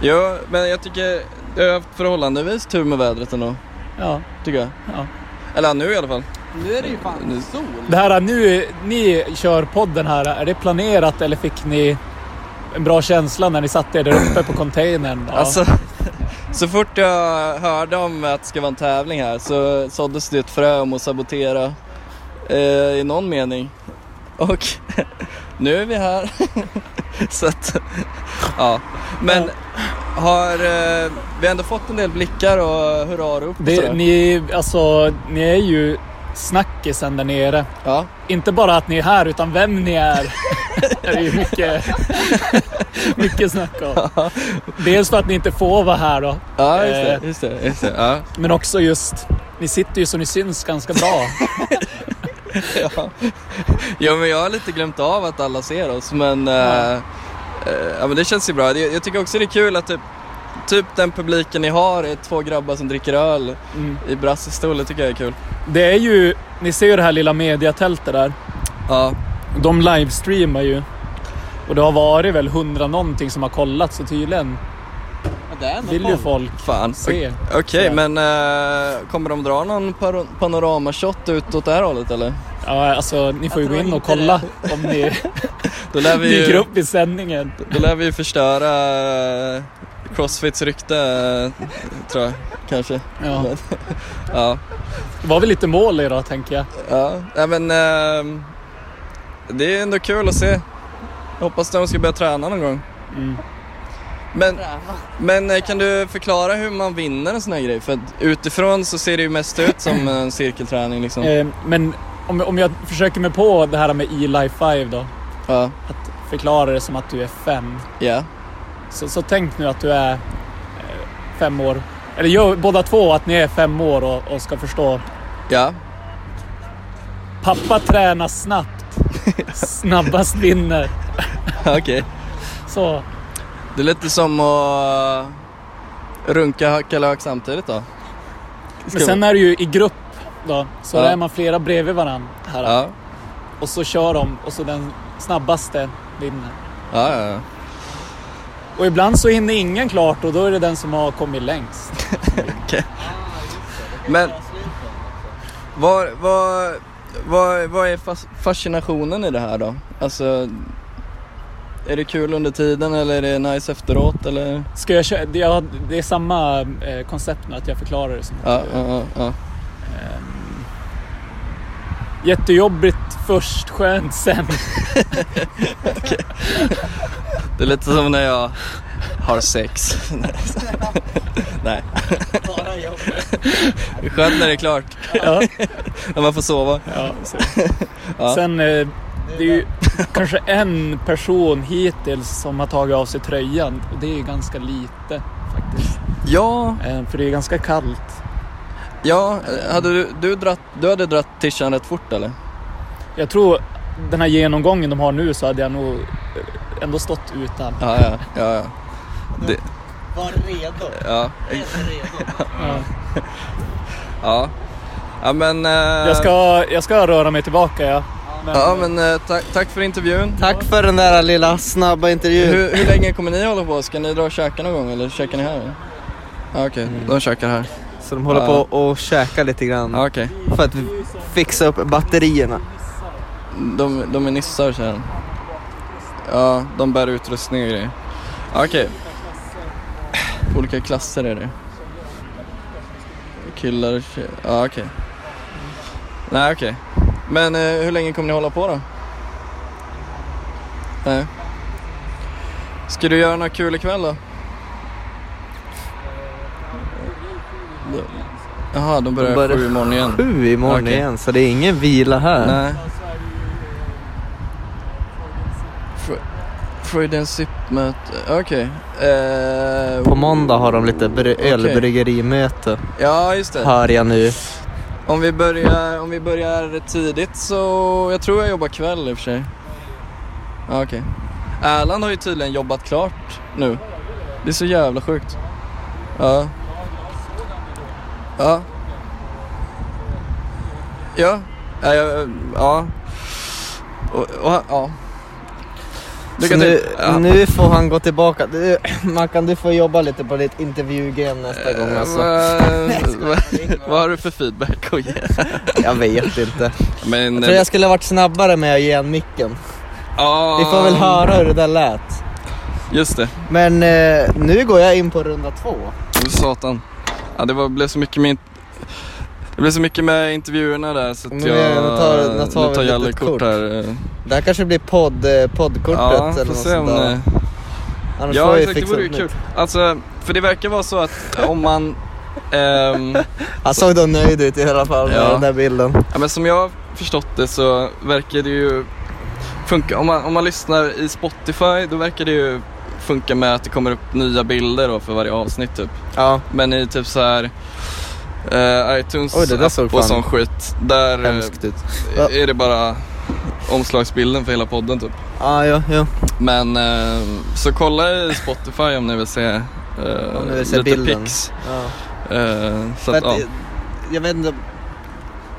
[SPEAKER 1] Jo, men jag tycker jag har haft förhållandevis tur med vädret ändå.
[SPEAKER 4] Ja,
[SPEAKER 1] Tycker jag.
[SPEAKER 4] ja.
[SPEAKER 1] Eller nu i alla fall.
[SPEAKER 3] Nu är det ju fan sol.
[SPEAKER 4] Det här nu, ni kör podden här, är det planerat eller fick ni en bra känsla när ni satt er där uppe på containern? Ja.
[SPEAKER 1] Alltså, så fort jag hörde om att det ska vara en tävling här så såddes det ett frö om att sabotera eh, i någon mening. Och nu är vi här. så att, ja. Men har, eh, vi har ändå fått en del blickar och hurrarop och
[SPEAKER 4] det,
[SPEAKER 1] sådär.
[SPEAKER 4] ni, alltså, ni är ju snackisen där nere.
[SPEAKER 1] Ja.
[SPEAKER 4] Inte bara att ni är här utan vem ni är. Det är ju mycket, mycket snack om. Dels för att ni inte får vara här då.
[SPEAKER 1] Ja, just det. Just det, just det. Ja.
[SPEAKER 4] Men också just, ni sitter ju så ni syns ganska bra.
[SPEAKER 1] Ja. ja, men jag har lite glömt av att alla ser oss, men, eh, eh, ja, men det känns ju bra. Det- Jag tycker också det är kul att typ, typ den publiken ni har är två grabbar som dricker öl
[SPEAKER 4] Mm.
[SPEAKER 1] i brassestol. Det tycker jag är kul.
[SPEAKER 4] Det är ju, ni ser ju det här lilla mediatältet där.
[SPEAKER 1] Ja,
[SPEAKER 4] De livestreamar ju. Och det har varit väl hundra någonting som har kollat så tydligen
[SPEAKER 3] Ja, det är ändå
[SPEAKER 4] vill ju folk
[SPEAKER 1] fan.
[SPEAKER 4] se.
[SPEAKER 1] Okej,
[SPEAKER 4] Sådär.
[SPEAKER 1] men eh, kommer de dra någon paro- panoramashot utåt det här hållet eller?
[SPEAKER 4] Ja, alltså ni får ju
[SPEAKER 3] Jag
[SPEAKER 4] gå
[SPEAKER 3] tror
[SPEAKER 4] in och
[SPEAKER 3] inte det.
[SPEAKER 4] kolla om ni
[SPEAKER 1] Då lär vi
[SPEAKER 4] dyker
[SPEAKER 1] ju,
[SPEAKER 4] upp i sändningen.
[SPEAKER 1] då lär vi ju förstöra eh, Crossfits rykte, eh, tror jag. Kanske.
[SPEAKER 4] Ja.
[SPEAKER 1] Ja.
[SPEAKER 4] Det var väl lite mål idag tänker jag.
[SPEAKER 1] Ja, nej men ehm, det är ändå kul att se. Hoppas de ska börja träna någon gång.
[SPEAKER 4] Mm.
[SPEAKER 1] Men, men eh, kan du förklara hur man vinner en sån här grej? För att utifrån så ser det ju mest ut som en cirkelträning liksom.
[SPEAKER 4] Eh, men om, om jag försöker mig på det här med E-Life 5 då.
[SPEAKER 1] Ja,
[SPEAKER 4] Att förklara det som att du är fem.
[SPEAKER 1] ja,
[SPEAKER 4] Så, så tänk nu att du är eh, fem år. Eller gör båda två att ni är fem år och, och ska förstå.
[SPEAKER 1] ja.
[SPEAKER 4] Pappa tränar snabbt. Snabbast vinner.
[SPEAKER 1] Okej.
[SPEAKER 4] Så.
[SPEAKER 1] Det är lite som att eh, runka hacka lök samtidigt då.
[SPEAKER 4] Men sen är det ju i grupp då. Så
[SPEAKER 1] Ja.
[SPEAKER 4] där är man flera bredvid varandra. Här,
[SPEAKER 1] Ja,
[SPEAKER 4] Och så kör de och så den snabbaste vinner.
[SPEAKER 1] ja, ja. ja.
[SPEAKER 4] Och ibland så hinner ingen klart och då är det den som har kommit längst.
[SPEAKER 1] Men vad, vad, vad, vad är fas- fascinationen i det här då? Alltså, är det kul under tiden eller är det nice efteråt eller?
[SPEAKER 4] Ska jag köra? Ja, det är samma eh, koncept nu att jag förklarar det som
[SPEAKER 1] Ja, ja, ja, ja.
[SPEAKER 4] Jättejobbigt först, skönt sen.
[SPEAKER 1] Det är lite som när jag har sex. Nej,
[SPEAKER 3] Bara jobb.
[SPEAKER 1] det är skönt när det är klart.
[SPEAKER 4] Ja,
[SPEAKER 1] När man får sova.
[SPEAKER 4] ja, så.
[SPEAKER 1] Ja.
[SPEAKER 4] Sen, eh, det är ju kanske en person hittills som har tagit av sig tröjan och det är ju ganska lite faktiskt.
[SPEAKER 1] Ja,
[SPEAKER 4] Eh, för det är ganska kallt.
[SPEAKER 1] ja hade du, du, dratt, du hade dratt tishan rätt fort eller?
[SPEAKER 4] Jag tror den här genomgången de har nu så hade jag nog eh, ändå stått utan.
[SPEAKER 1] Ja, ja, ja. ja. Det,
[SPEAKER 3] Var redo.
[SPEAKER 1] ja,
[SPEAKER 3] Var redo.
[SPEAKER 4] Ja.
[SPEAKER 1] ja. ja men... eh,
[SPEAKER 4] Jag, ska, jag ska röra mig tillbaka ja. Men,
[SPEAKER 1] Ja men eh, tack, tack för intervjun.
[SPEAKER 3] Tack för den där lilla snabba intervjun.
[SPEAKER 1] Hur, hur länge kommer ni hålla på? Ska ni dra och käka någon gång eller käkar ni här? Ja, Okej, de käkar här.
[SPEAKER 3] Så de
[SPEAKER 1] håller
[SPEAKER 3] håller på och käkar lite grann.
[SPEAKER 1] Ja, Okej,
[SPEAKER 3] För att vi fixar upp batterierna.
[SPEAKER 1] de, de är nissar säger han. Ja, de bär utrustning och grejer. Ja, Okej. Olika klasser är det. Killar och tjejer. Ja okej. Nej okej. Men eh, hur länge kommer ni hålla på då? Nej. Ska du göra något kul ikväll då? Då- Jaha, de börjar,
[SPEAKER 3] De börjar
[SPEAKER 1] sju imorgon igen.
[SPEAKER 3] Sju imorgon
[SPEAKER 1] Okej.
[SPEAKER 3] igen, så det är ingen vila här.
[SPEAKER 1] Nej.
[SPEAKER 5] Fre- Freudian Sip-möte, okej. Eh,
[SPEAKER 3] På måndag har de lite bry-
[SPEAKER 5] Okej.
[SPEAKER 3] ölbryggerimöte,
[SPEAKER 5] Ja, just det.
[SPEAKER 3] hör jag nu.
[SPEAKER 5] Om vi, börjar, om vi börjar tidigt så, jag tror jag jobbar kväll i och för sig. Ja, okej. Erland har ju tydligen jobbat klart nu. Det är så jävla sjukt. Ja. Ja. Ja. Ja. jag- Ja. Och, och, han- ja.
[SPEAKER 3] Så
[SPEAKER 5] Lycka
[SPEAKER 3] nu,
[SPEAKER 5] till.
[SPEAKER 1] typ-
[SPEAKER 5] Ja.
[SPEAKER 3] nu får han gå tillbaka. Du, Mackan, du får jobba lite på ditt intervjugame nästa
[SPEAKER 1] Eh,
[SPEAKER 3] gång alltså.
[SPEAKER 5] Vad- vad- Vad har du för feedback att ge?
[SPEAKER 3] Jag vet inte.
[SPEAKER 1] Men,
[SPEAKER 3] Jag tror jag skulle ha varit snabbare med att ge en micken.
[SPEAKER 1] ja,
[SPEAKER 3] Vi får väl höra hur det där lät.
[SPEAKER 1] eh, ah, Just det,
[SPEAKER 3] Men eh, nu går jag in på runda två.
[SPEAKER 1] Åh, satan. Ja, det var, blev så mycket med, in- det blev så mycket med intervjuerna där så att
[SPEAKER 3] Men
[SPEAKER 1] jag,
[SPEAKER 3] jag tar- jag tar
[SPEAKER 1] nu
[SPEAKER 3] väl
[SPEAKER 1] tar
[SPEAKER 3] ett
[SPEAKER 1] jag alla
[SPEAKER 3] litet
[SPEAKER 1] kort,
[SPEAKER 3] kort.
[SPEAKER 1] här. eh.
[SPEAKER 3] Det här kanske blir podd, eh, poddkortet
[SPEAKER 1] Ja,
[SPEAKER 3] eller
[SPEAKER 1] får
[SPEAKER 3] något
[SPEAKER 1] se om
[SPEAKER 3] sånt där.
[SPEAKER 1] det...
[SPEAKER 3] Annars får
[SPEAKER 1] Ja
[SPEAKER 3] vi
[SPEAKER 1] exakt, det
[SPEAKER 3] fixa
[SPEAKER 1] vore ju
[SPEAKER 3] något
[SPEAKER 1] kul.
[SPEAKER 3] nytt.
[SPEAKER 1] Alltså, för det verkar vara så att om man... ehm,
[SPEAKER 3] Han såg då nöjd ut i alla fall med
[SPEAKER 1] Ja.
[SPEAKER 3] den där bilden.
[SPEAKER 1] Ja, men som jag har förstått det så verkar det ju funka, om man, om man lyssnar i Spotify då verkar det ju funka med att det kommer upp nya bilder då för varje avsnitt typ.
[SPEAKER 3] Ja,
[SPEAKER 1] Men i typ så här eh, iTunes
[SPEAKER 3] Oj, det där såg
[SPEAKER 1] app och
[SPEAKER 3] fan
[SPEAKER 1] sån skit, där eh,
[SPEAKER 3] hemskt ut. Ja.
[SPEAKER 1] är det bara omslagsbilden för hela podden typ.
[SPEAKER 3] Ja, ja, ja.
[SPEAKER 1] Men eh, så kolla i Spotify om ni vill se, eh,
[SPEAKER 3] Om ni vill se
[SPEAKER 1] lite
[SPEAKER 3] bilden.
[SPEAKER 1] pics.
[SPEAKER 3] ja.
[SPEAKER 1] Eh, så
[SPEAKER 3] För
[SPEAKER 1] att, ja.
[SPEAKER 3] att, eh, Jag vet inte.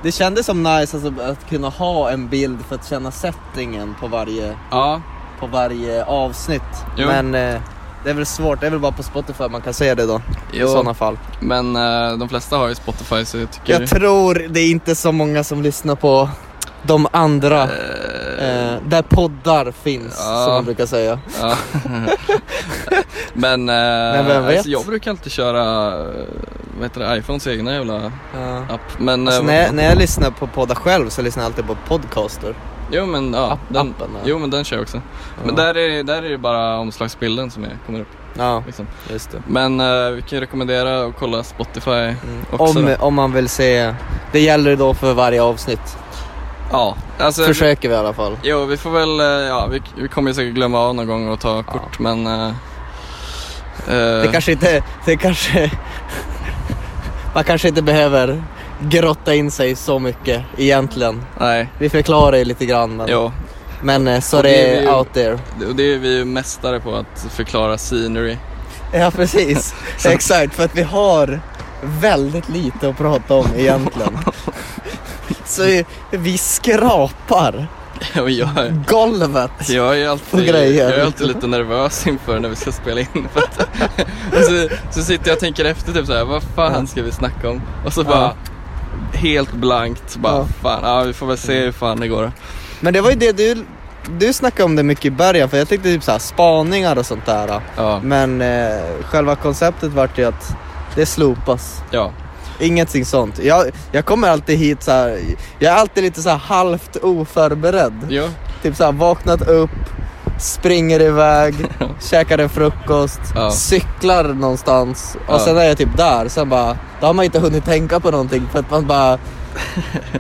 [SPEAKER 3] Det kändes som nice alltså, att kunna ha en bild för att känna settingen på varje,
[SPEAKER 1] ja,
[SPEAKER 3] på varje avsnitt.
[SPEAKER 1] Jo.
[SPEAKER 3] Men eh, det är väl svårt, det är väl bara på Spotify man kan se det då. I
[SPEAKER 1] jo,
[SPEAKER 3] sådana fall.
[SPEAKER 1] men eh, de flesta har ju Spotify så jag tycker...
[SPEAKER 3] Jag tror det är inte så många som lyssnar på de andra,
[SPEAKER 1] Eh,
[SPEAKER 3] eh, där poddar finns
[SPEAKER 1] ja.
[SPEAKER 3] som man brukar säga.
[SPEAKER 1] Ja. Men, eh,
[SPEAKER 3] vem vet?
[SPEAKER 1] Alltså, jag brukar alltid köra eh, vad heter det, Iphones egna jävla
[SPEAKER 3] Ja.
[SPEAKER 1] app. Men,
[SPEAKER 3] Alltså,
[SPEAKER 1] eh,
[SPEAKER 3] när, jag, när jag lyssnar på poddar själv så lyssnar jag alltid på podcaster.
[SPEAKER 1] jo, men, ja,
[SPEAKER 3] App-
[SPEAKER 1] den,
[SPEAKER 3] appen, ja.
[SPEAKER 1] jo men den kör jag också. Men
[SPEAKER 3] Ja.
[SPEAKER 1] där är, där är det bara omslagsbilden som är, kommer upp.
[SPEAKER 3] Ja,
[SPEAKER 1] Liksom.
[SPEAKER 3] just det.
[SPEAKER 1] Men eh, vi kan ju rekommendera att kolla Spotify
[SPEAKER 3] Mm.
[SPEAKER 1] också.
[SPEAKER 3] Om,
[SPEAKER 1] då.
[SPEAKER 3] om man vill se, det gäller då för varje avsnitt.
[SPEAKER 1] Ja, alltså, vi,
[SPEAKER 3] Försöker vi i alla fall.
[SPEAKER 1] jo, vi får väl, eh, ja, vi, vi kommer ju säkert glömma av någon gång att ta kort men eh, eh,
[SPEAKER 3] Det kanske inte, det kanske, man kanske inte behöver grotta in sig så mycket egentligen.
[SPEAKER 1] Nej,
[SPEAKER 3] Vi förklarar ju lite grann men,
[SPEAKER 1] jo.
[SPEAKER 3] men eh, så
[SPEAKER 1] Och det
[SPEAKER 3] det
[SPEAKER 1] är vi ju-
[SPEAKER 3] är out there.
[SPEAKER 1] Det- Och det är vi ju mästare på att förklara scenery.
[SPEAKER 3] Ja precis, exakt för att vi har väldigt lite att prata om egentligen. Så vi- vi skrapar
[SPEAKER 1] Och jag,
[SPEAKER 3] golvet.
[SPEAKER 1] Jag är
[SPEAKER 3] Och
[SPEAKER 1] alltid,
[SPEAKER 3] grejer.
[SPEAKER 1] jag är alltid lite nervös inför när vi ska spela in. För att, och så, så sitter jag och tänker efter typ såhär, vad fan ska vi snacka om? Och så bara helt blankt bara,
[SPEAKER 3] Ja. Mm.
[SPEAKER 1] fan, ja, vi får väl se hur fan det går. då."
[SPEAKER 3] Men det var ju det du, du snackade om det mycket i början för jag tänkte typ så här spaningar och sånt där.
[SPEAKER 1] Ja,
[SPEAKER 3] Men eh, själva konceptet vart ju att det slopas.
[SPEAKER 1] ja.
[SPEAKER 3] Ingenting sånt. Jag, jag kommer alltid hit så här. jag är alltid lite så här halvt oförberedd.
[SPEAKER 1] Jo,
[SPEAKER 3] Typ så här vaknat upp, springer iväg, käkar en frukost,
[SPEAKER 1] Ja.
[SPEAKER 3] cyklar någonstans och
[SPEAKER 1] Ja.
[SPEAKER 3] sen är jag typ där. Sen bara, då har man inte hunnit tänka på någonting för att man bara,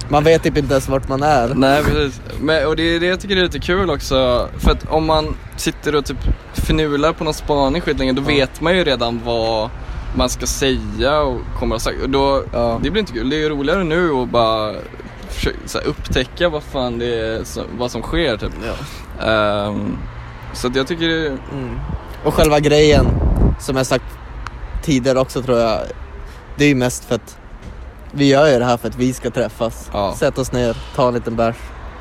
[SPEAKER 3] man vet typ inte ens vart man är.
[SPEAKER 1] nej precis. Men, och det är det jag tycker är lite kul också. För att om man sitter och typ fnular på någon spaning skitlänge, då vet man ju redan vad man ska säga och kommer att säga. Och då,
[SPEAKER 3] Ja.
[SPEAKER 1] Det blir inte kul. Det är ju roligare nu att bara försöka, så här, upptäcka vad fan det är som, vad som sker typ. Ehm, så att jag tycker det,
[SPEAKER 3] Mm. Och själva grejen, som jag sagt tidigare också tror jag, det är ju mest för att vi gör ju det här för att vi ska träffas.
[SPEAKER 1] Ja.
[SPEAKER 3] Sätta oss ner, ta en liten bärs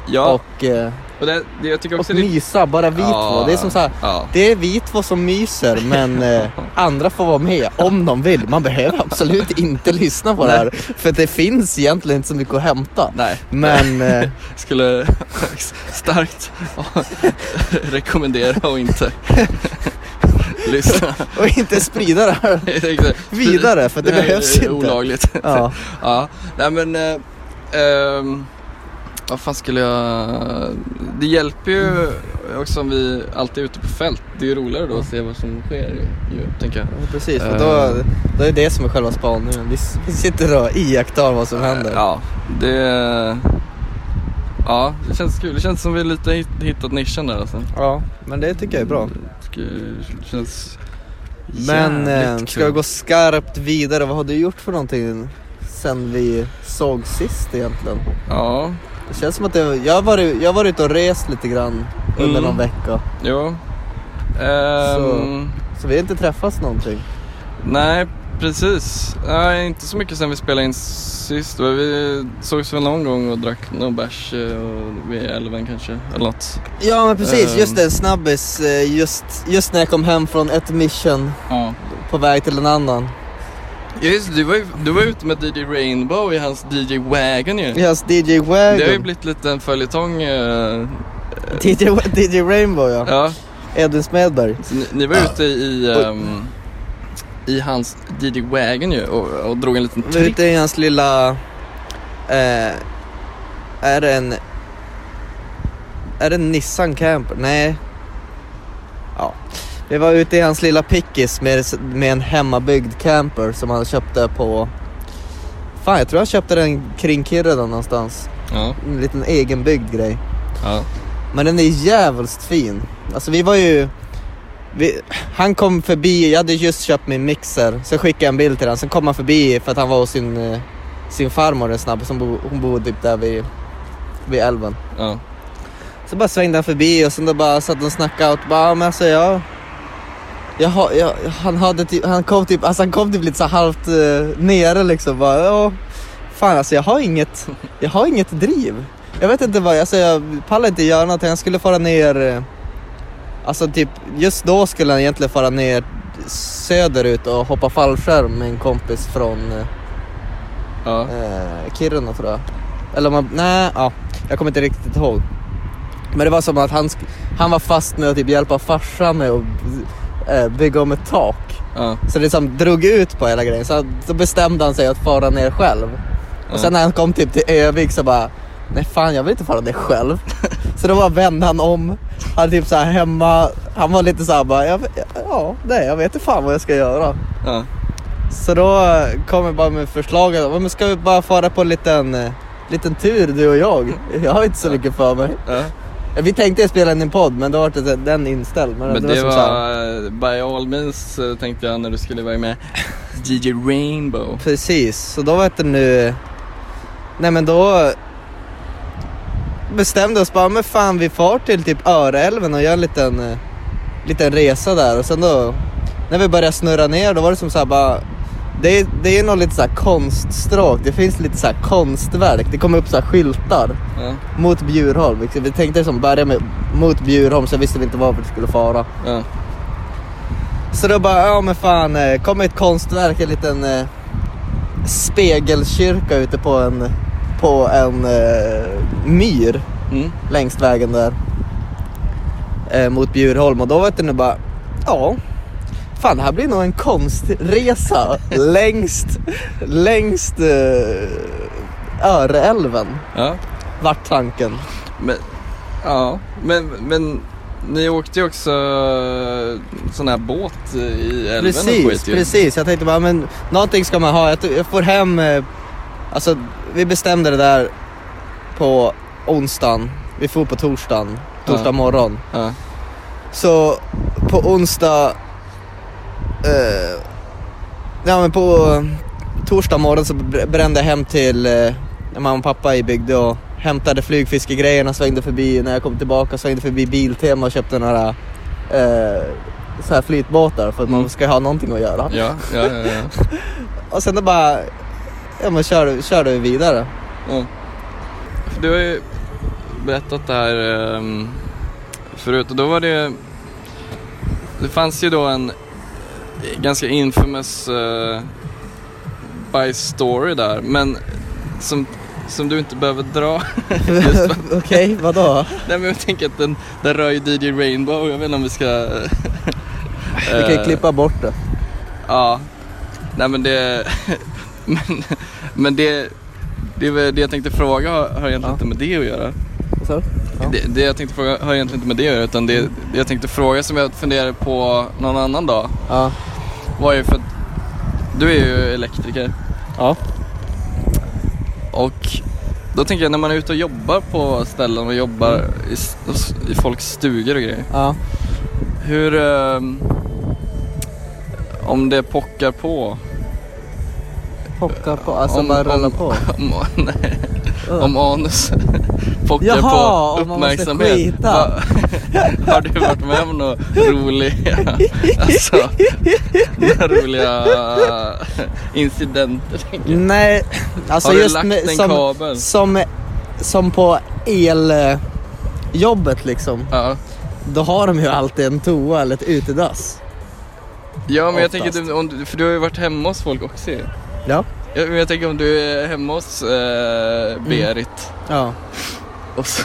[SPEAKER 1] ja, och,
[SPEAKER 3] och, eh,
[SPEAKER 1] det, det, jag tycker
[SPEAKER 3] och
[SPEAKER 1] också det,
[SPEAKER 3] mysa, bara vi
[SPEAKER 1] Ja.
[SPEAKER 3] två. Det är som så här,
[SPEAKER 1] ja,
[SPEAKER 3] det är vi två som myser men eh, andra får vara med om de vill. Man behöver absolut inte lyssna på det här för det finns egentligen inte så mycket att hämta.
[SPEAKER 1] nej,
[SPEAKER 3] Men eh,
[SPEAKER 1] skulle starkt rekommendera och inte lyssna.
[SPEAKER 3] och inte sprida det här
[SPEAKER 1] Jag tänkte,
[SPEAKER 3] vidare för det,
[SPEAKER 1] här är
[SPEAKER 3] behövs inte.
[SPEAKER 1] olagligt.
[SPEAKER 3] Ja.
[SPEAKER 1] Ja, nej men... Eh, ehm, vad fan skulle jag... Det hjälper ju också om vi alltid är ute på fält. Det är ju roligare då att se vad som sker ju, tänker jag.
[SPEAKER 3] Ja, Precis,
[SPEAKER 1] Eh.
[SPEAKER 3] och då, då är det som är själva spaningen. Vi s- vi sitter och iakttar vad som händer.
[SPEAKER 1] Ja, det... Ja, det känns kul. Det känns som vi lite hitt- hittat nischen där alltså.
[SPEAKER 3] Ja, men det tycker jag är bra.
[SPEAKER 1] Det eh, känns
[SPEAKER 3] Men eh,
[SPEAKER 1] jävligt
[SPEAKER 3] ska vi
[SPEAKER 1] kul.
[SPEAKER 3] gå skarpt vidare, vad har du gjort för någonting sen vi såg sist egentligen?
[SPEAKER 1] Ja,
[SPEAKER 3] Det känns som att det, jag, har varit, jag har varit ute och rest lite grann under
[SPEAKER 1] Mm.
[SPEAKER 3] någon vecka.
[SPEAKER 1] jo. Ehm,
[SPEAKER 3] Så. Så vi har inte träffats någonting.
[SPEAKER 1] Nej, precis. Nej, inte så mycket sen vi spelade in sist. Men Vi sågs väl någon gång och drack någon bärs eh, och vid älven kanske, eller något.
[SPEAKER 3] Ja men precis,
[SPEAKER 1] Ehm.
[SPEAKER 3] just det, en snabbis. eh, Just, just när jag kom hem från ett mission
[SPEAKER 1] Ja.
[SPEAKER 3] på väg till en annan.
[SPEAKER 1] Ja, Just det, du var ju du var ute med DJ Rainbow i hans DJ Wagon ju.
[SPEAKER 3] Yes, DJ
[SPEAKER 1] Det har ju
[SPEAKER 3] Wagon.
[SPEAKER 1] blivit lite en följetong. eh,
[SPEAKER 3] DJ, Wa- DJ Rainbow ja.
[SPEAKER 1] Ja,
[SPEAKER 3] Edvin Smedberg.
[SPEAKER 1] så ni, ni var ute i, ehm, i hans DJ Wagon ju och, och drog en liten
[SPEAKER 3] Vi är
[SPEAKER 1] tripp.
[SPEAKER 3] ute i hans lilla... Eh, är det en... Är det en Nissan Camper? Nej. Ja. Vi var ute i hans lilla pickis med, med en hemmabyggd camper som han köpte på... Fan, jag tror han köpte den kring Kiruna någonstans.
[SPEAKER 1] Ja,
[SPEAKER 3] En liten egenbyggd grej.
[SPEAKER 1] ja.
[SPEAKER 3] Men den är jävligt fin. Alltså vi var ju... Vi, han kom förbi, jag hade just köpt min mixer, så jag skickade en bild till honom. Sen kom han förbi för att han var hos sin, eh, sin farmor en snabb, som bo, hon bodde typ där vid, vid älven.
[SPEAKER 1] ja.
[SPEAKER 3] Så bara svängde han förbi och sen då bara satt och snackade och bara, "Ja, men alltså jag... Jag, har- jag, han, hade typ, han, kom typ, alltså han kom typ lite så här halvt eh, nere liksom. Bara, ja, fan alltså jag har inget, jag har inget driv. Jag vet inte vad, alltså jag pallar inte göra någonting. Han skulle fara ner, eh, alltså typ just då skulle han egentligen fara ner söderut och hoppa fallskärm med en kompis från
[SPEAKER 1] ja.
[SPEAKER 3] eh, Kiruna tror jag. Eller om man, nej, ja, jag kommer inte riktigt ihåg. Men det var som att han, sk- han var fast med att typ hjälpa farsan med att eh, bygga om ett tak.
[SPEAKER 1] ja.
[SPEAKER 3] Så det liksom drog ut på hela grejen. Så, så bestämde han sig att fara ner själv. Och sen när han kom typ till Övik så bara, nej fan jag vill inte fara ner själv. så då bara vände han om. Han typ så här hemma, han var lite så här bara, "Jag- ja, nej jag vet inte fan vad jag ska göra.
[SPEAKER 1] ja.
[SPEAKER 3] Så då kom jag bara med förslaget, "Ja, men ska vi bara fara på en liten, eh, liten tur du och jag? Jag har inte så mycket för mig.
[SPEAKER 1] ja.
[SPEAKER 3] Vi tänkte spela in en podd men då var det den inställd. Men,
[SPEAKER 1] Men
[SPEAKER 3] det, var, som så här,
[SPEAKER 1] eh, by all means eh, tänkte jag när du skulle vara med DJ Rainbow.
[SPEAKER 3] Precis, så då var det nu... Nej men då bestämde oss bara, men fan vi far till typ Öreälven och gör en liten, eh, liten resa där och sen då när vi började snurra ner då var det som så här bara det är, det är nog lite så här konststråk, det finns lite så här konstverk, det kommer upp så här skyltar
[SPEAKER 1] Ja,
[SPEAKER 3] mot Bjurholm. liksom. Vi tänkte som börja med mot Bjurholm så visste vi inte var vi skulle fara.
[SPEAKER 1] ja,
[SPEAKER 3] Så då bara, ja men fan, eh, kom ett konstverk, en liten eh, spegelkyrka ute på en, på en eh, myr
[SPEAKER 1] mm,
[SPEAKER 3] längs vägen där. Eh, mot Bjurholm och då var det nu bara, ja. Fan, det här blir nog en konstresa längst, längst eh, Öreälven.
[SPEAKER 1] ja.
[SPEAKER 3] Vart tanken.
[SPEAKER 1] Men, ja, men, men ni åkte ju också eh, sån här båt i älven och
[SPEAKER 3] Precis,
[SPEAKER 1] skit ju.
[SPEAKER 3] precis. Jag tänkte bara, men någonting ska man ha. Jag, t- jag får hem, eh, alltså vi bestämde det där på onsdagen. Vi får på torsdagen, torsdag
[SPEAKER 1] Ja.
[SPEAKER 3] morgon.
[SPEAKER 1] Ja,
[SPEAKER 3] Så på onsdag, eh, ja men på torsdag morgon så br- brände jag hem till eh, mamma och pappa i bygde och hämtade flygfiskegrejerna, svängde förbi, när jag kom tillbaka svängde förbi Biltema och köpte några eh, så här flytbåtar för att
[SPEAKER 1] Mm.
[SPEAKER 3] man ska ha någonting att göra.
[SPEAKER 1] ja, ja, ja, ja.
[SPEAKER 3] Och sen då bara, ja men körde, körde vi vidare.
[SPEAKER 1] ja. För Du har ju berättat det här ehm, förut och då var det Det fanns ju då en ganska infamous eh, by story där men som, som du inte behöver dra.
[SPEAKER 3] Okej, vadå?
[SPEAKER 1] Nej men jag tänker att den, den rör ju DJ Rainbow, jag vet inte om vi ska...
[SPEAKER 3] Vi kan ju
[SPEAKER 1] eh,
[SPEAKER 3] klippa bort det.
[SPEAKER 1] Ja. Nej men det... men, men det... Det, är väl det jag tänkte fråga har har egentligen
[SPEAKER 3] Ja.
[SPEAKER 1] inte med det att göra.
[SPEAKER 3] Vad sa du? Ja.
[SPEAKER 1] Det, det jag tänkte fråga har egentligen inte med det att göra utan det, det jag tänkte fråga som jag funderade på någon annan dag
[SPEAKER 3] Ja.
[SPEAKER 1] var ju för att du är ju elektriker.
[SPEAKER 3] Ja.
[SPEAKER 1] Och Då tänker jag när man är ute och jobbar på ställen och jobbar i, s- i folks stugor och grejer.
[SPEAKER 3] Ja.
[SPEAKER 1] Hur... ehm, om det pockar på?
[SPEAKER 3] Pockar på, alltså
[SPEAKER 1] Om-
[SPEAKER 3] bara
[SPEAKER 1] om-
[SPEAKER 3] rulla på.
[SPEAKER 1] Om, nej, om anus pockar
[SPEAKER 3] Jaha,
[SPEAKER 1] på
[SPEAKER 3] om man måste
[SPEAKER 1] uppmärksamhet.
[SPEAKER 3] skita.
[SPEAKER 1] Va- Har du varit med om några roliga, alltså, några roliga incidenter? tänker jag?
[SPEAKER 3] Nej, alltså
[SPEAKER 1] Har du
[SPEAKER 3] just
[SPEAKER 1] lagt
[SPEAKER 3] med,
[SPEAKER 1] en
[SPEAKER 3] som,
[SPEAKER 1] kabel?
[SPEAKER 3] som, som på eljobbet liksom.
[SPEAKER 1] Ja.
[SPEAKER 3] Då har de ju alltid en toa eller ett utedass.
[SPEAKER 1] Ja men jag tänker,
[SPEAKER 3] Oftast.
[SPEAKER 1] du, om, du- för du har ju varit hemma hos folk också ju.
[SPEAKER 3] Ja.
[SPEAKER 1] Jag, men jag tänker om du är hemma hos eh,
[SPEAKER 3] Mm.
[SPEAKER 1] Berit
[SPEAKER 3] Ja.
[SPEAKER 1] och så,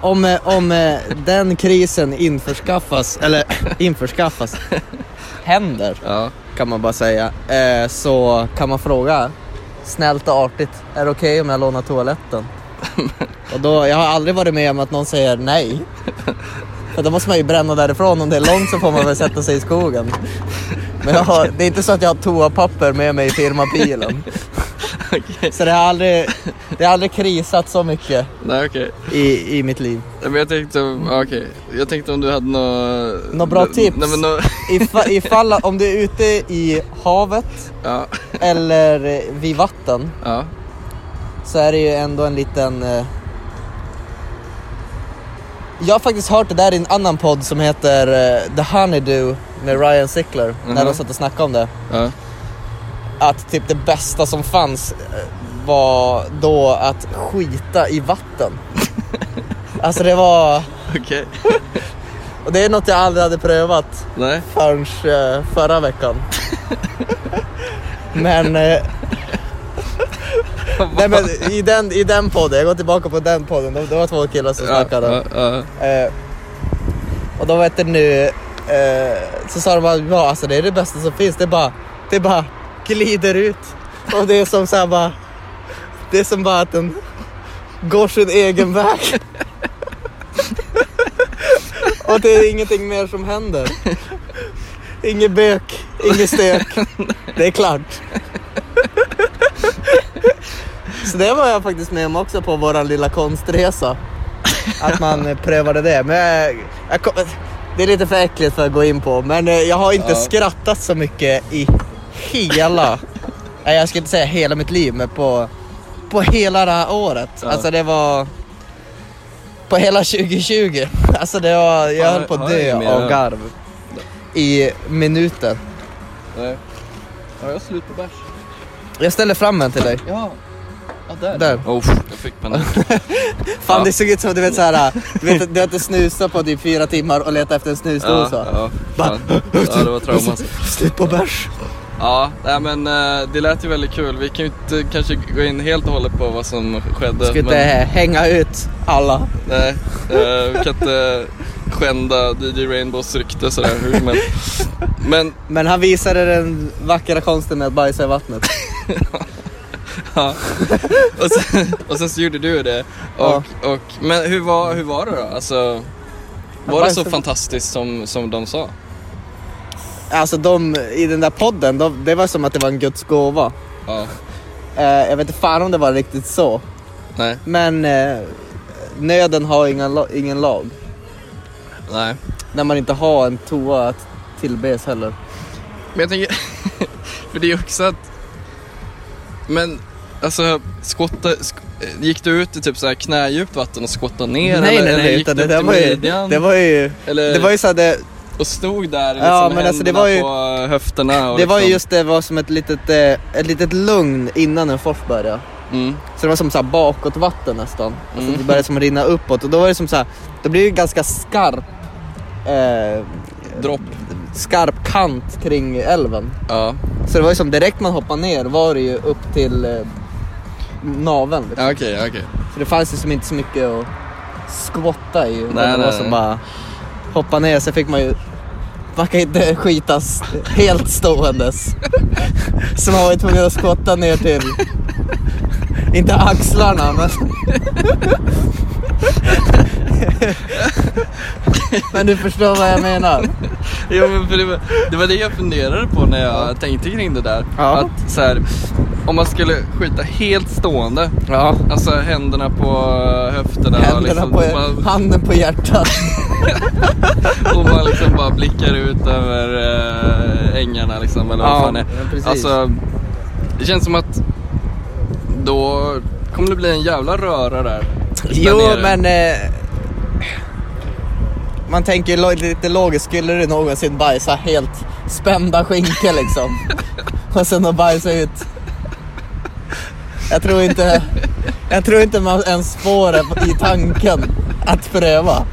[SPEAKER 3] Om, eh, om eh, den krisen införskaffas, eller införskaffas, händer
[SPEAKER 1] ja.
[SPEAKER 3] kan man bara säga, eh, så kan man fråga snällt och artigt, är det okej om jag lånar toaletten? och då, jag har aldrig varit med om att någon säger nej. För då måste man ju bränna därifrån, om det är långt så får man väl sätta sig i skogen. Men jag har, det är inte så att jag har toapapper med mig i firmabilen. Så det har, aldrig, det har aldrig krisat så mycket
[SPEAKER 1] Nej okej.
[SPEAKER 3] i, i mitt liv.
[SPEAKER 1] Nej, Men jag tänkte, om- ja, okej. Jag tänkte om du hade något...
[SPEAKER 3] Nå bra tips?
[SPEAKER 1] Nej men nå,
[SPEAKER 3] Ifall, ifall, om du är ute i havet
[SPEAKER 1] ja,
[SPEAKER 3] eller eh, vid vatten
[SPEAKER 1] ja.
[SPEAKER 3] så är det ju ändå en liten... eh, Jag har faktiskt hört det där i en annan podd som heter eh, The Honeydew med Ryan Sickler, när de satt och snackade om det.
[SPEAKER 1] Ja.
[SPEAKER 3] Att typ det bästa som fanns eh, var då att skita i vatten. alltså det var...
[SPEAKER 1] Okej.
[SPEAKER 3] Och det är något jag aldrig hade prövat.
[SPEAKER 1] Nej.
[SPEAKER 3] förrän eh, förra veckan. men... Eh, nej men i den, i den podden, jag går tillbaka på den podden, det, det var två killar som
[SPEAKER 1] Ja,
[SPEAKER 3] snackade.
[SPEAKER 1] ja, ja.
[SPEAKER 3] Eh, och då vet du nu, eh, så sa de bara, ja alltså det är det bästa som finns, det är bara, det är bara glider ut. Och det är som så här bara, det är som bara att den går sin egen väg. och det är ingenting mer som händer. Inget bök, inget stök. Det är klart. Så det var jag faktiskt med om också på våran lilla konstresa. Att man eh, prövade det. Men jag, jag kom, det är lite för äckligt för att gå in på. Men eh, jag har inte
[SPEAKER 1] Ja.
[SPEAKER 3] skrattat så mycket i hela, nej jag ska inte säga hela mitt liv, men på, på hela det här året.
[SPEAKER 1] Ja.
[SPEAKER 3] Alltså det var, på hela 2020. Alltså det var, jag
[SPEAKER 1] Har-
[SPEAKER 3] höll på att
[SPEAKER 1] har
[SPEAKER 3] dö
[SPEAKER 1] jag mer?
[SPEAKER 3] av garv i minuten.
[SPEAKER 1] Nej. Har jag slut på bärs?
[SPEAKER 3] Jag ställer fram en till dig.
[SPEAKER 1] Ja. Ja, där.
[SPEAKER 3] Där.
[SPEAKER 1] Oh, jag fick panik.
[SPEAKER 3] Fan
[SPEAKER 1] Ja.
[SPEAKER 3] det såg ut som du vet såhär, du vet, du vet du snusar på typ fyra timmar och letar efter en snusdosa.
[SPEAKER 1] ja, fan. ja, det var trauma.
[SPEAKER 3] Slut på bärs.
[SPEAKER 1] Ja, nej, men eh, det lät ju väldigt kul. Vi kan ju inte kanske gå in helt och hållet på vad som skedde.
[SPEAKER 3] Ska inte
[SPEAKER 1] men,
[SPEAKER 3] hänga ut alla.
[SPEAKER 1] nej, eh, vi kan inte skända DJ Rainbows rykte sådär hur som helst. Men
[SPEAKER 3] Men han visade den vackra konsten med att bajsa i vattnet.
[SPEAKER 1] ja, och sen, och sen så gjorde du det. Och, och, men hur var, hur var det då? Alltså, var det så fantastiskt som, som de sa?
[SPEAKER 3] Alltså de i den där podden, de, det var som att det var en guds gåva.
[SPEAKER 1] Ja,
[SPEAKER 3] Eh, jag vet inte fan om det var riktigt så.
[SPEAKER 1] nej,
[SPEAKER 3] Men eh, nöden har inga, la- ingen lag.
[SPEAKER 1] nej.
[SPEAKER 3] När man inte har en toa att tillbes heller.
[SPEAKER 1] Men jag tänker, för det är ju också att, men alltså skotta, sk, gick du ut i typ så här knädjupt vatten och skottade ner?
[SPEAKER 3] nej,
[SPEAKER 1] eller,
[SPEAKER 3] nej,
[SPEAKER 1] eller
[SPEAKER 3] nej. Eh,
[SPEAKER 1] gick
[SPEAKER 3] Utan
[SPEAKER 1] du
[SPEAKER 3] det,
[SPEAKER 1] upp
[SPEAKER 3] där
[SPEAKER 1] till
[SPEAKER 3] var ju,
[SPEAKER 1] midjan?
[SPEAKER 3] det var ju,
[SPEAKER 1] eller,
[SPEAKER 3] det var ju så här, det,
[SPEAKER 1] och stod där liksom,
[SPEAKER 3] Ja,
[SPEAKER 1] med
[SPEAKER 3] men alltså, det
[SPEAKER 1] händerna
[SPEAKER 3] var ju-
[SPEAKER 1] på eh, höfterna och
[SPEAKER 3] det var ju
[SPEAKER 1] liksom,
[SPEAKER 3] just det var som ett litet, eh, ett litet lugn innan en fors började.
[SPEAKER 1] mm,
[SPEAKER 3] Så det var som så här bakåtvatten nästan. Alltså
[SPEAKER 1] Mm.
[SPEAKER 3] Det började som rinna uppåt och då var det som så här, då blir det ju ganska skarp, eh,
[SPEAKER 1] dropp.
[SPEAKER 3] skarp kant kring älven.
[SPEAKER 1] Ja,
[SPEAKER 3] Så det var ju som direkt man hoppade ner var det ju upp till eh, naveln. Liksom.
[SPEAKER 1] ja, okej, ja, okej.
[SPEAKER 3] För det fanns ju som inte så mycket att skvotta i. utan
[SPEAKER 1] Nej,
[SPEAKER 3] det var
[SPEAKER 1] nej,
[SPEAKER 3] som
[SPEAKER 1] nej.
[SPEAKER 3] bara hoppa ner. Sen fick man ju... Man kan inte skitas helt ståendes. så man var ju tvungen att skvotta ner till... Inte axlarna men... men du förstår vad jag menar.
[SPEAKER 1] Jo, men för det, var, det var det jag funderade på när jag tänkte kring det där.
[SPEAKER 3] Ja.
[SPEAKER 1] Att så här, om man skulle skjuta helt stående,
[SPEAKER 3] Ja.
[SPEAKER 1] alltså händerna på eh, höfterna och,
[SPEAKER 3] Händerna
[SPEAKER 1] liksom,
[SPEAKER 3] på,
[SPEAKER 1] man,
[SPEAKER 3] handen på hjärtat.
[SPEAKER 1] och man liksom bara blickar ut över eh, ängarna liksom, eller vad
[SPEAKER 3] Ja,
[SPEAKER 1] fan det är.
[SPEAKER 3] ja, precis.
[SPEAKER 1] Alltså, det känns som att då kommer det bli en jävla röra där. där
[SPEAKER 3] Jo,
[SPEAKER 1] nere.
[SPEAKER 3] men... Eh, man tänker lo- lite logiskt, skulle du någonsin bajsa helt spända skinka liksom? Och sen att bajsa ut. Jag tror inte, jag tror inte man ens får det i tanken att pröva.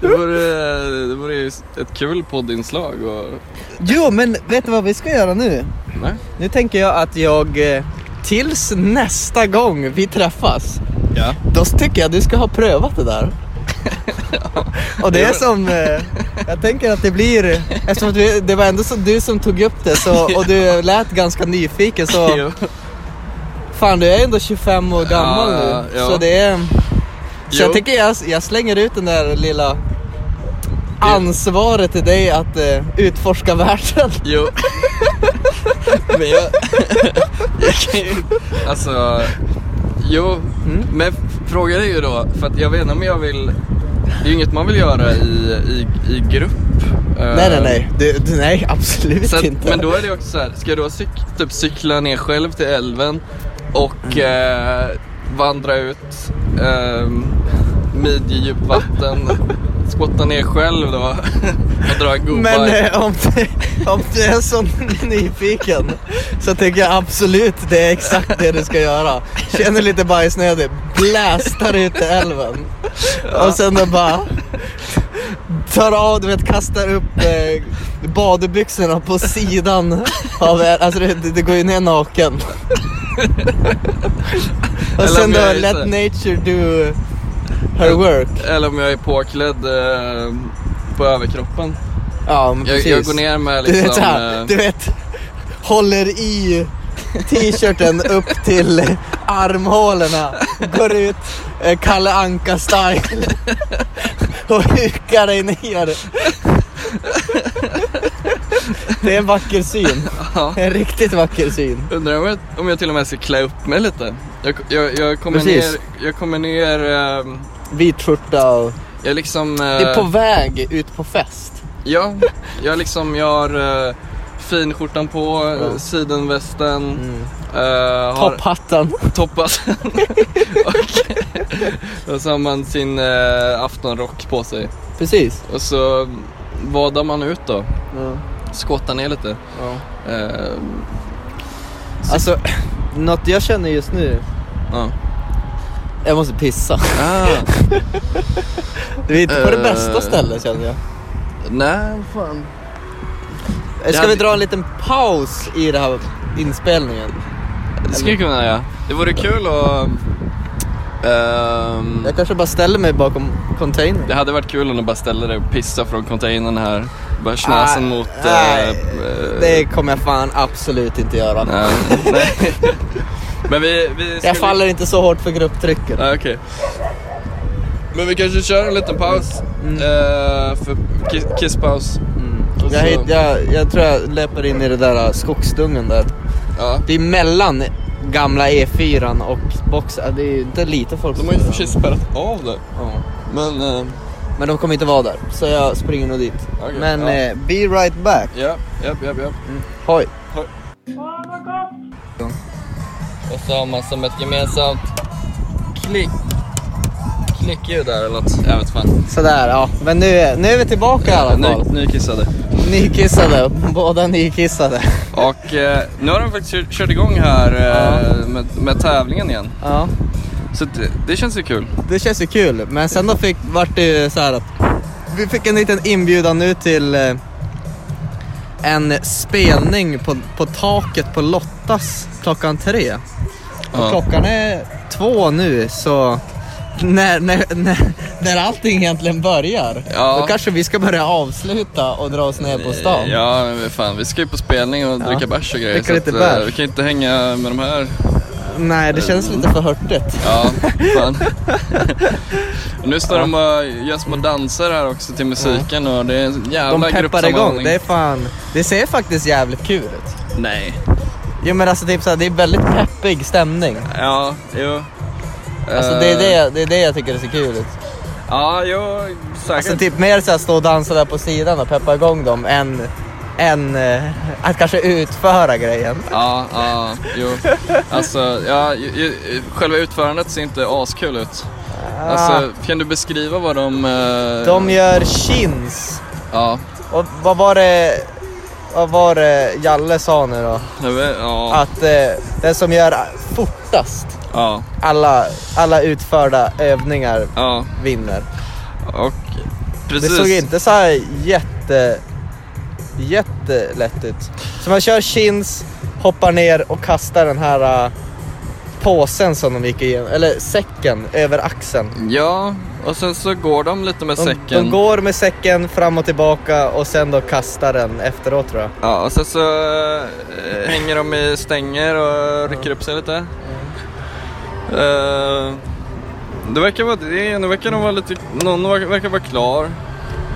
[SPEAKER 1] Det vore, det vore ju ett kul poddinslag och...
[SPEAKER 3] Jo, men vet du vad vi ska göra nu?
[SPEAKER 1] Nej.
[SPEAKER 3] Nu tänker jag att jag eh, tills nästa gång vi träffas,
[SPEAKER 1] Ja.
[SPEAKER 3] då tycker jag du ska ha prövat det där. Och det är som, eh, jag tänker att det blir, eftersom att vi, det var ändå så, du som tog upp det så, och du lät ganska nyfiken så,
[SPEAKER 1] Jo.
[SPEAKER 3] fan du är ändå 25 år gammal
[SPEAKER 1] Ja, ja,
[SPEAKER 3] nu.
[SPEAKER 1] ja.
[SPEAKER 3] Så det är, så jag
[SPEAKER 1] Jo.
[SPEAKER 3] tänker jag, jag slänger ut den där lilla ansvaret till dig att eh, utforska världen.
[SPEAKER 1] Jo. men jag... jag kan ju... Alltså... Jo,
[SPEAKER 3] Mm.
[SPEAKER 1] men f- frågan är ju då, för att jag vet inte om jag vill... Det är ju inget man vill göra i, i, i grupp. Eh,
[SPEAKER 3] Nej, nej, nej. Du, du, nej, absolut
[SPEAKER 1] Så att,
[SPEAKER 3] inte.
[SPEAKER 1] men då är det ju också så här, ska jag då cyk, typ cykla ner själv till älven och
[SPEAKER 3] Mm.
[SPEAKER 1] eh, vandra ut eh, midjedjupt vatten, skotta ner själv då och dra en god
[SPEAKER 3] Men
[SPEAKER 1] vibe.
[SPEAKER 3] eh, om, du, om du är så nyfiken så tycker jag absolut det är exakt det du ska göra. Känner lite bajsnödig, blästar ut i älven. Och sen då bara tar av, du vet kastar upp eh, badbyxorna på sidan av ä- Alltså det, det går ju ner naken. Och
[SPEAKER 1] Eller
[SPEAKER 3] sen
[SPEAKER 1] om
[SPEAKER 3] då
[SPEAKER 1] jag är
[SPEAKER 3] let
[SPEAKER 1] så-
[SPEAKER 3] nature do her work.
[SPEAKER 1] Eller om jag är påklädd eh, på överkroppen.
[SPEAKER 3] Ja, men
[SPEAKER 1] Jag,
[SPEAKER 3] precis.
[SPEAKER 1] jag går ner med
[SPEAKER 3] Du vet,
[SPEAKER 1] liksom...
[SPEAKER 3] så här,
[SPEAKER 1] eh,
[SPEAKER 3] du vet, håller i t-shirten upp till armhålorna. Går ut eh, Kalle Anka-style. Och hukar dig ner. Det är en vacker syn.
[SPEAKER 1] Ja.
[SPEAKER 3] En riktigt vacker syn.
[SPEAKER 1] Undrar om jag, om jag till och med ska klä upp mig lite. Jag, jag, jag kommer
[SPEAKER 3] Precis.
[SPEAKER 1] ner... Jag kommer ner... eh,
[SPEAKER 3] Vit skjorta och...
[SPEAKER 1] jag liksom... eh,
[SPEAKER 3] Det är på väg ut på fest.
[SPEAKER 1] Ja, jag liksom, jag har eh, finskjortan på,
[SPEAKER 3] Ja.
[SPEAKER 1] sidenvästen,
[SPEAKER 3] Mm.
[SPEAKER 1] eh, har
[SPEAKER 3] Topphattan.
[SPEAKER 1] toppat och, och så har man sin eh, aftonrock på sig.
[SPEAKER 3] Precis.
[SPEAKER 1] Och så vadar man ut då,
[SPEAKER 3] Ja.
[SPEAKER 1] skottar ner lite. Eh,
[SPEAKER 3] Alltså, något jag känner just nu.
[SPEAKER 1] ja.
[SPEAKER 3] Jag måste pissa.
[SPEAKER 1] ah,
[SPEAKER 3] Vi är inte på det bästa
[SPEAKER 1] Eh.
[SPEAKER 3] stället känner jag.
[SPEAKER 1] nej, fan.
[SPEAKER 3] Ska vi dra en liten paus i den här inspelningen?
[SPEAKER 1] Det skulle jag kunna göra. Det vore kul att... ehm,
[SPEAKER 3] Jag kanske bara ställer mig bakom containern.
[SPEAKER 1] Det hade varit kul om du bara ställde dig och pissade från containern här. Bara snäsen
[SPEAKER 3] Nej,
[SPEAKER 1] mot... eh,
[SPEAKER 3] Ah, nej,
[SPEAKER 1] eh,
[SPEAKER 3] Det kommer jag fan absolut inte göra.
[SPEAKER 1] nej, nej. Men vi... vi skulle-
[SPEAKER 3] Jag faller inte så hårt för grupptrycket.
[SPEAKER 1] Nej, okej. Men vi kanske kör en liten paus.
[SPEAKER 3] Mm.
[SPEAKER 1] eh, för kiss, kisspaus. Och
[SPEAKER 3] Jag,
[SPEAKER 1] så-
[SPEAKER 3] hit, jag, jag tror jag löper in i det där äh, skogsdungen där.
[SPEAKER 1] Ja.
[SPEAKER 3] Det är mellan gamla E4 och boxen. Det är ju inte lite folk
[SPEAKER 1] De har ju i och för sig
[SPEAKER 3] där.
[SPEAKER 1] spärrat av det.
[SPEAKER 3] Ja.
[SPEAKER 1] Men... eh,
[SPEAKER 3] Men de kommer inte vara där, så jag springer nog dit.
[SPEAKER 1] Okej,
[SPEAKER 3] Men
[SPEAKER 1] ja.
[SPEAKER 3] eh, be right back.
[SPEAKER 1] Ja, ja, ja, ja.
[SPEAKER 3] Hoj.
[SPEAKER 1] Och så har man som ett gemensamt klick... Klickljud där eller något. Jag vet fan.
[SPEAKER 3] Sådär ja, men nu, är- nu är vi tillbaka i alla fall.
[SPEAKER 1] Ny, nykissade.
[SPEAKER 3] Nykissade, båda nykissade.
[SPEAKER 1] Och eh, nu har de faktiskt kört, kört igång här eh, med, med tävlingen igen.
[SPEAKER 3] Ja,
[SPEAKER 1] Så det, det känns ju kul.
[SPEAKER 3] det känns ju kul. Men sen då fick, vart det ju så här att vi fick en liten inbjudan nu till eh, en spelning på, på taket på Lottas klockan tre. Och
[SPEAKER 1] Ja.
[SPEAKER 3] klockan är två nu så när, när, när, när allting egentligen börjar
[SPEAKER 1] Ja.
[SPEAKER 3] då kanske vi ska börja avsluta och dra oss ner på stan.
[SPEAKER 1] Ja, men fan vi ska ju på spelning och dricka bärs och grejer.
[SPEAKER 3] Dricka lite
[SPEAKER 1] att, eh,
[SPEAKER 3] bärs.
[SPEAKER 1] vi kan inte hänga med de här.
[SPEAKER 3] Nej, det känns lite för hurtigt.
[SPEAKER 1] Ja, fan. och nu står de och gör små danser här också till musiken och det är en jävla
[SPEAKER 3] De peppar igång,
[SPEAKER 1] gruppsammanhållning.
[SPEAKER 3] det är fan, det ser faktiskt jävligt kul ut.
[SPEAKER 6] Nej.
[SPEAKER 3] Jo men alltså typ såhär, det är väldigt peppig stämning.
[SPEAKER 6] Ja, jo.
[SPEAKER 3] Alltså det är det, det är det jag tycker är så kul ut.
[SPEAKER 1] Eh,
[SPEAKER 6] Ja, jo, säkert.
[SPEAKER 3] Alltså typ mer såhär stå och dansa där på sidan och peppa igång dem än, än eh, att kanske utföra grejen.
[SPEAKER 1] Ja, ja, jo. Alltså, ja, ju, ju, själva utförandet ser inte askul ut. Alltså, kan du beskriva vad de... eh,
[SPEAKER 3] Ah. De gör chins.
[SPEAKER 1] Ja,
[SPEAKER 3] Och vad var det, vad var det Jalle sa nu då?
[SPEAKER 1] jag vet, ja,
[SPEAKER 3] Att eh, den som gör fortast
[SPEAKER 1] ja,
[SPEAKER 3] alla, alla utförda övningar
[SPEAKER 1] ja.
[SPEAKER 3] vinner.
[SPEAKER 1] Och
[SPEAKER 3] Det
[SPEAKER 1] precis.
[SPEAKER 3] såg inte så här jätte, jättelätt ut. Så man kör chins, hoppar ner och kastar den här eh, påsen som de gick igenom, eller säcken över axeln.
[SPEAKER 1] Ja, och sen så går de lite med
[SPEAKER 3] De,
[SPEAKER 1] säcken.
[SPEAKER 3] de går med säcken fram och tillbaka och sen då kastar den efteråt tror jag.
[SPEAKER 1] Ja, och sen så eh, hänger de i stänger och rycker upp sig lite. Eh, det verkar vara det, nu verkar de vara lite, någon verkar, verkar vara klar.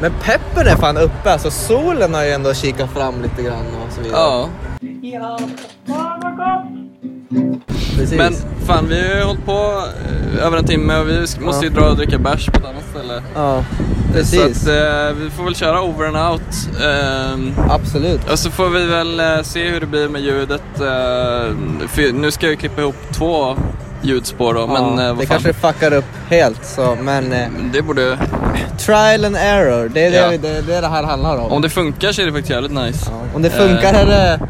[SPEAKER 3] Men peppen är fan uppe alltså, solen har ju ändå kikat fram lite grann och så vidare.
[SPEAKER 1] Ja,
[SPEAKER 3] Precis.
[SPEAKER 1] men fan vi har ju hållit på eh, över en timme och vi sk- måste ju dra och dricka bärs på ett annat ställe.
[SPEAKER 3] Ja,
[SPEAKER 1] Så
[SPEAKER 3] precis.
[SPEAKER 1] att eh, vi får väl köra over and out. ehm,
[SPEAKER 3] Absolut.
[SPEAKER 1] Och så får vi väl eh, se hur det blir med ljudet. eh, För nu ska jag ju klippa ihop två ljudspår då, men eh,
[SPEAKER 3] ja,
[SPEAKER 1] vad fan.
[SPEAKER 3] det kanske fuckar upp helt så, men eh,
[SPEAKER 1] Men Det borde...
[SPEAKER 3] trial and error, det är det,
[SPEAKER 1] Ja.
[SPEAKER 3] det, det, är det här handlar om.
[SPEAKER 1] Om det funkar så är det faktiskt jävligt nice.
[SPEAKER 3] Ja, Om det funkar är det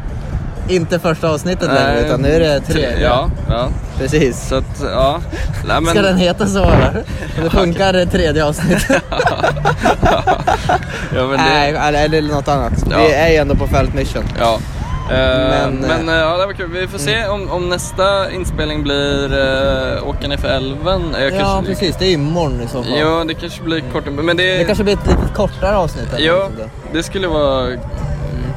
[SPEAKER 3] inte första avsnittet längre
[SPEAKER 1] Nej,
[SPEAKER 3] utan nu är det tredje.
[SPEAKER 1] Eh, Ja, ja.
[SPEAKER 3] Precis.
[SPEAKER 1] Så att, ja. Nej, men,
[SPEAKER 3] Ska den heta så eller? Om det funkar är det tredje avsnittet.
[SPEAKER 1] ja, men det,
[SPEAKER 3] Nej, eller, eller något annat.
[SPEAKER 1] Ja.
[SPEAKER 3] Vi är ju ändå på Fält Mission.
[SPEAKER 1] ja. Men,
[SPEAKER 3] Men, mm.
[SPEAKER 1] men eh, ja, det var kul. Vi får se om, om nästa inspelning blir uh, Åka ner för älven. Eh,
[SPEAKER 3] Ja,
[SPEAKER 1] kanske-
[SPEAKER 3] precis. Det är ju imorgon i så fall.
[SPEAKER 1] Jo, det kanske blir kort. Men det...
[SPEAKER 3] Det kanske blir ett lite kortare avsnitt. eller
[SPEAKER 1] Jo,
[SPEAKER 3] något sånt där.
[SPEAKER 1] det skulle vara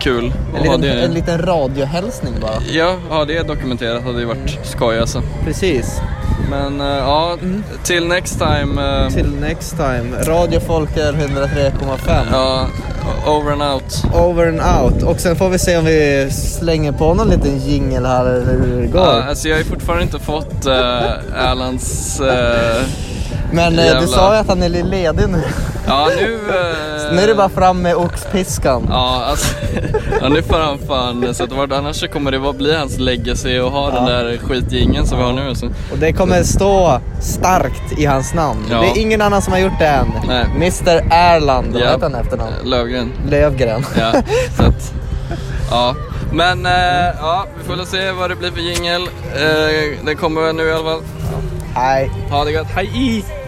[SPEAKER 1] kul. att
[SPEAKER 3] En
[SPEAKER 1] ha
[SPEAKER 3] liten,
[SPEAKER 1] det.
[SPEAKER 3] en liten radiohälsning bara.
[SPEAKER 1] Ja, ja, det dokumenterat hade ju
[SPEAKER 3] Mm.
[SPEAKER 1] varit skoj alltså.
[SPEAKER 3] Precis.
[SPEAKER 1] Men eh, ja, till next time. eh,
[SPEAKER 3] Mm. Till next time. Radio Folker 103,5.
[SPEAKER 1] Ja, over and out.
[SPEAKER 3] Over and out. Och sen får vi se om vi slänger på någon liten jingle här eller hur det går.
[SPEAKER 1] Ja, alltså jag har ju fortfarande inte fått uh, Alans... eh,
[SPEAKER 3] Men eh,
[SPEAKER 1] jävlar.
[SPEAKER 3] du sa ju att han är lite ledig nu.
[SPEAKER 1] ja, nu... eh,
[SPEAKER 3] Nu är det bara fram med oxpiskan.
[SPEAKER 1] Ja, alltså, ja, nu får han fan sätta vart. Annars så kommer det bara bli hans legacy och ha den där skitjingeln som vi har nu. Så. eh,
[SPEAKER 3] Och det kommer stå starkt i hans namn.
[SPEAKER 1] Ja.
[SPEAKER 3] Det är ingen annan som har gjort det än.
[SPEAKER 1] Nej.
[SPEAKER 3] Mr Erland, vad
[SPEAKER 1] Ja.
[SPEAKER 3] heter han efternamn?
[SPEAKER 1] Lövgren.
[SPEAKER 3] Lövgren.
[SPEAKER 1] Ja, så att... Ja. Men eh, ja, vi får väl se vad det blir för jingel. Eh, den kommer nu i alla fall.
[SPEAKER 3] Nej.
[SPEAKER 1] Ha det gött. Hej!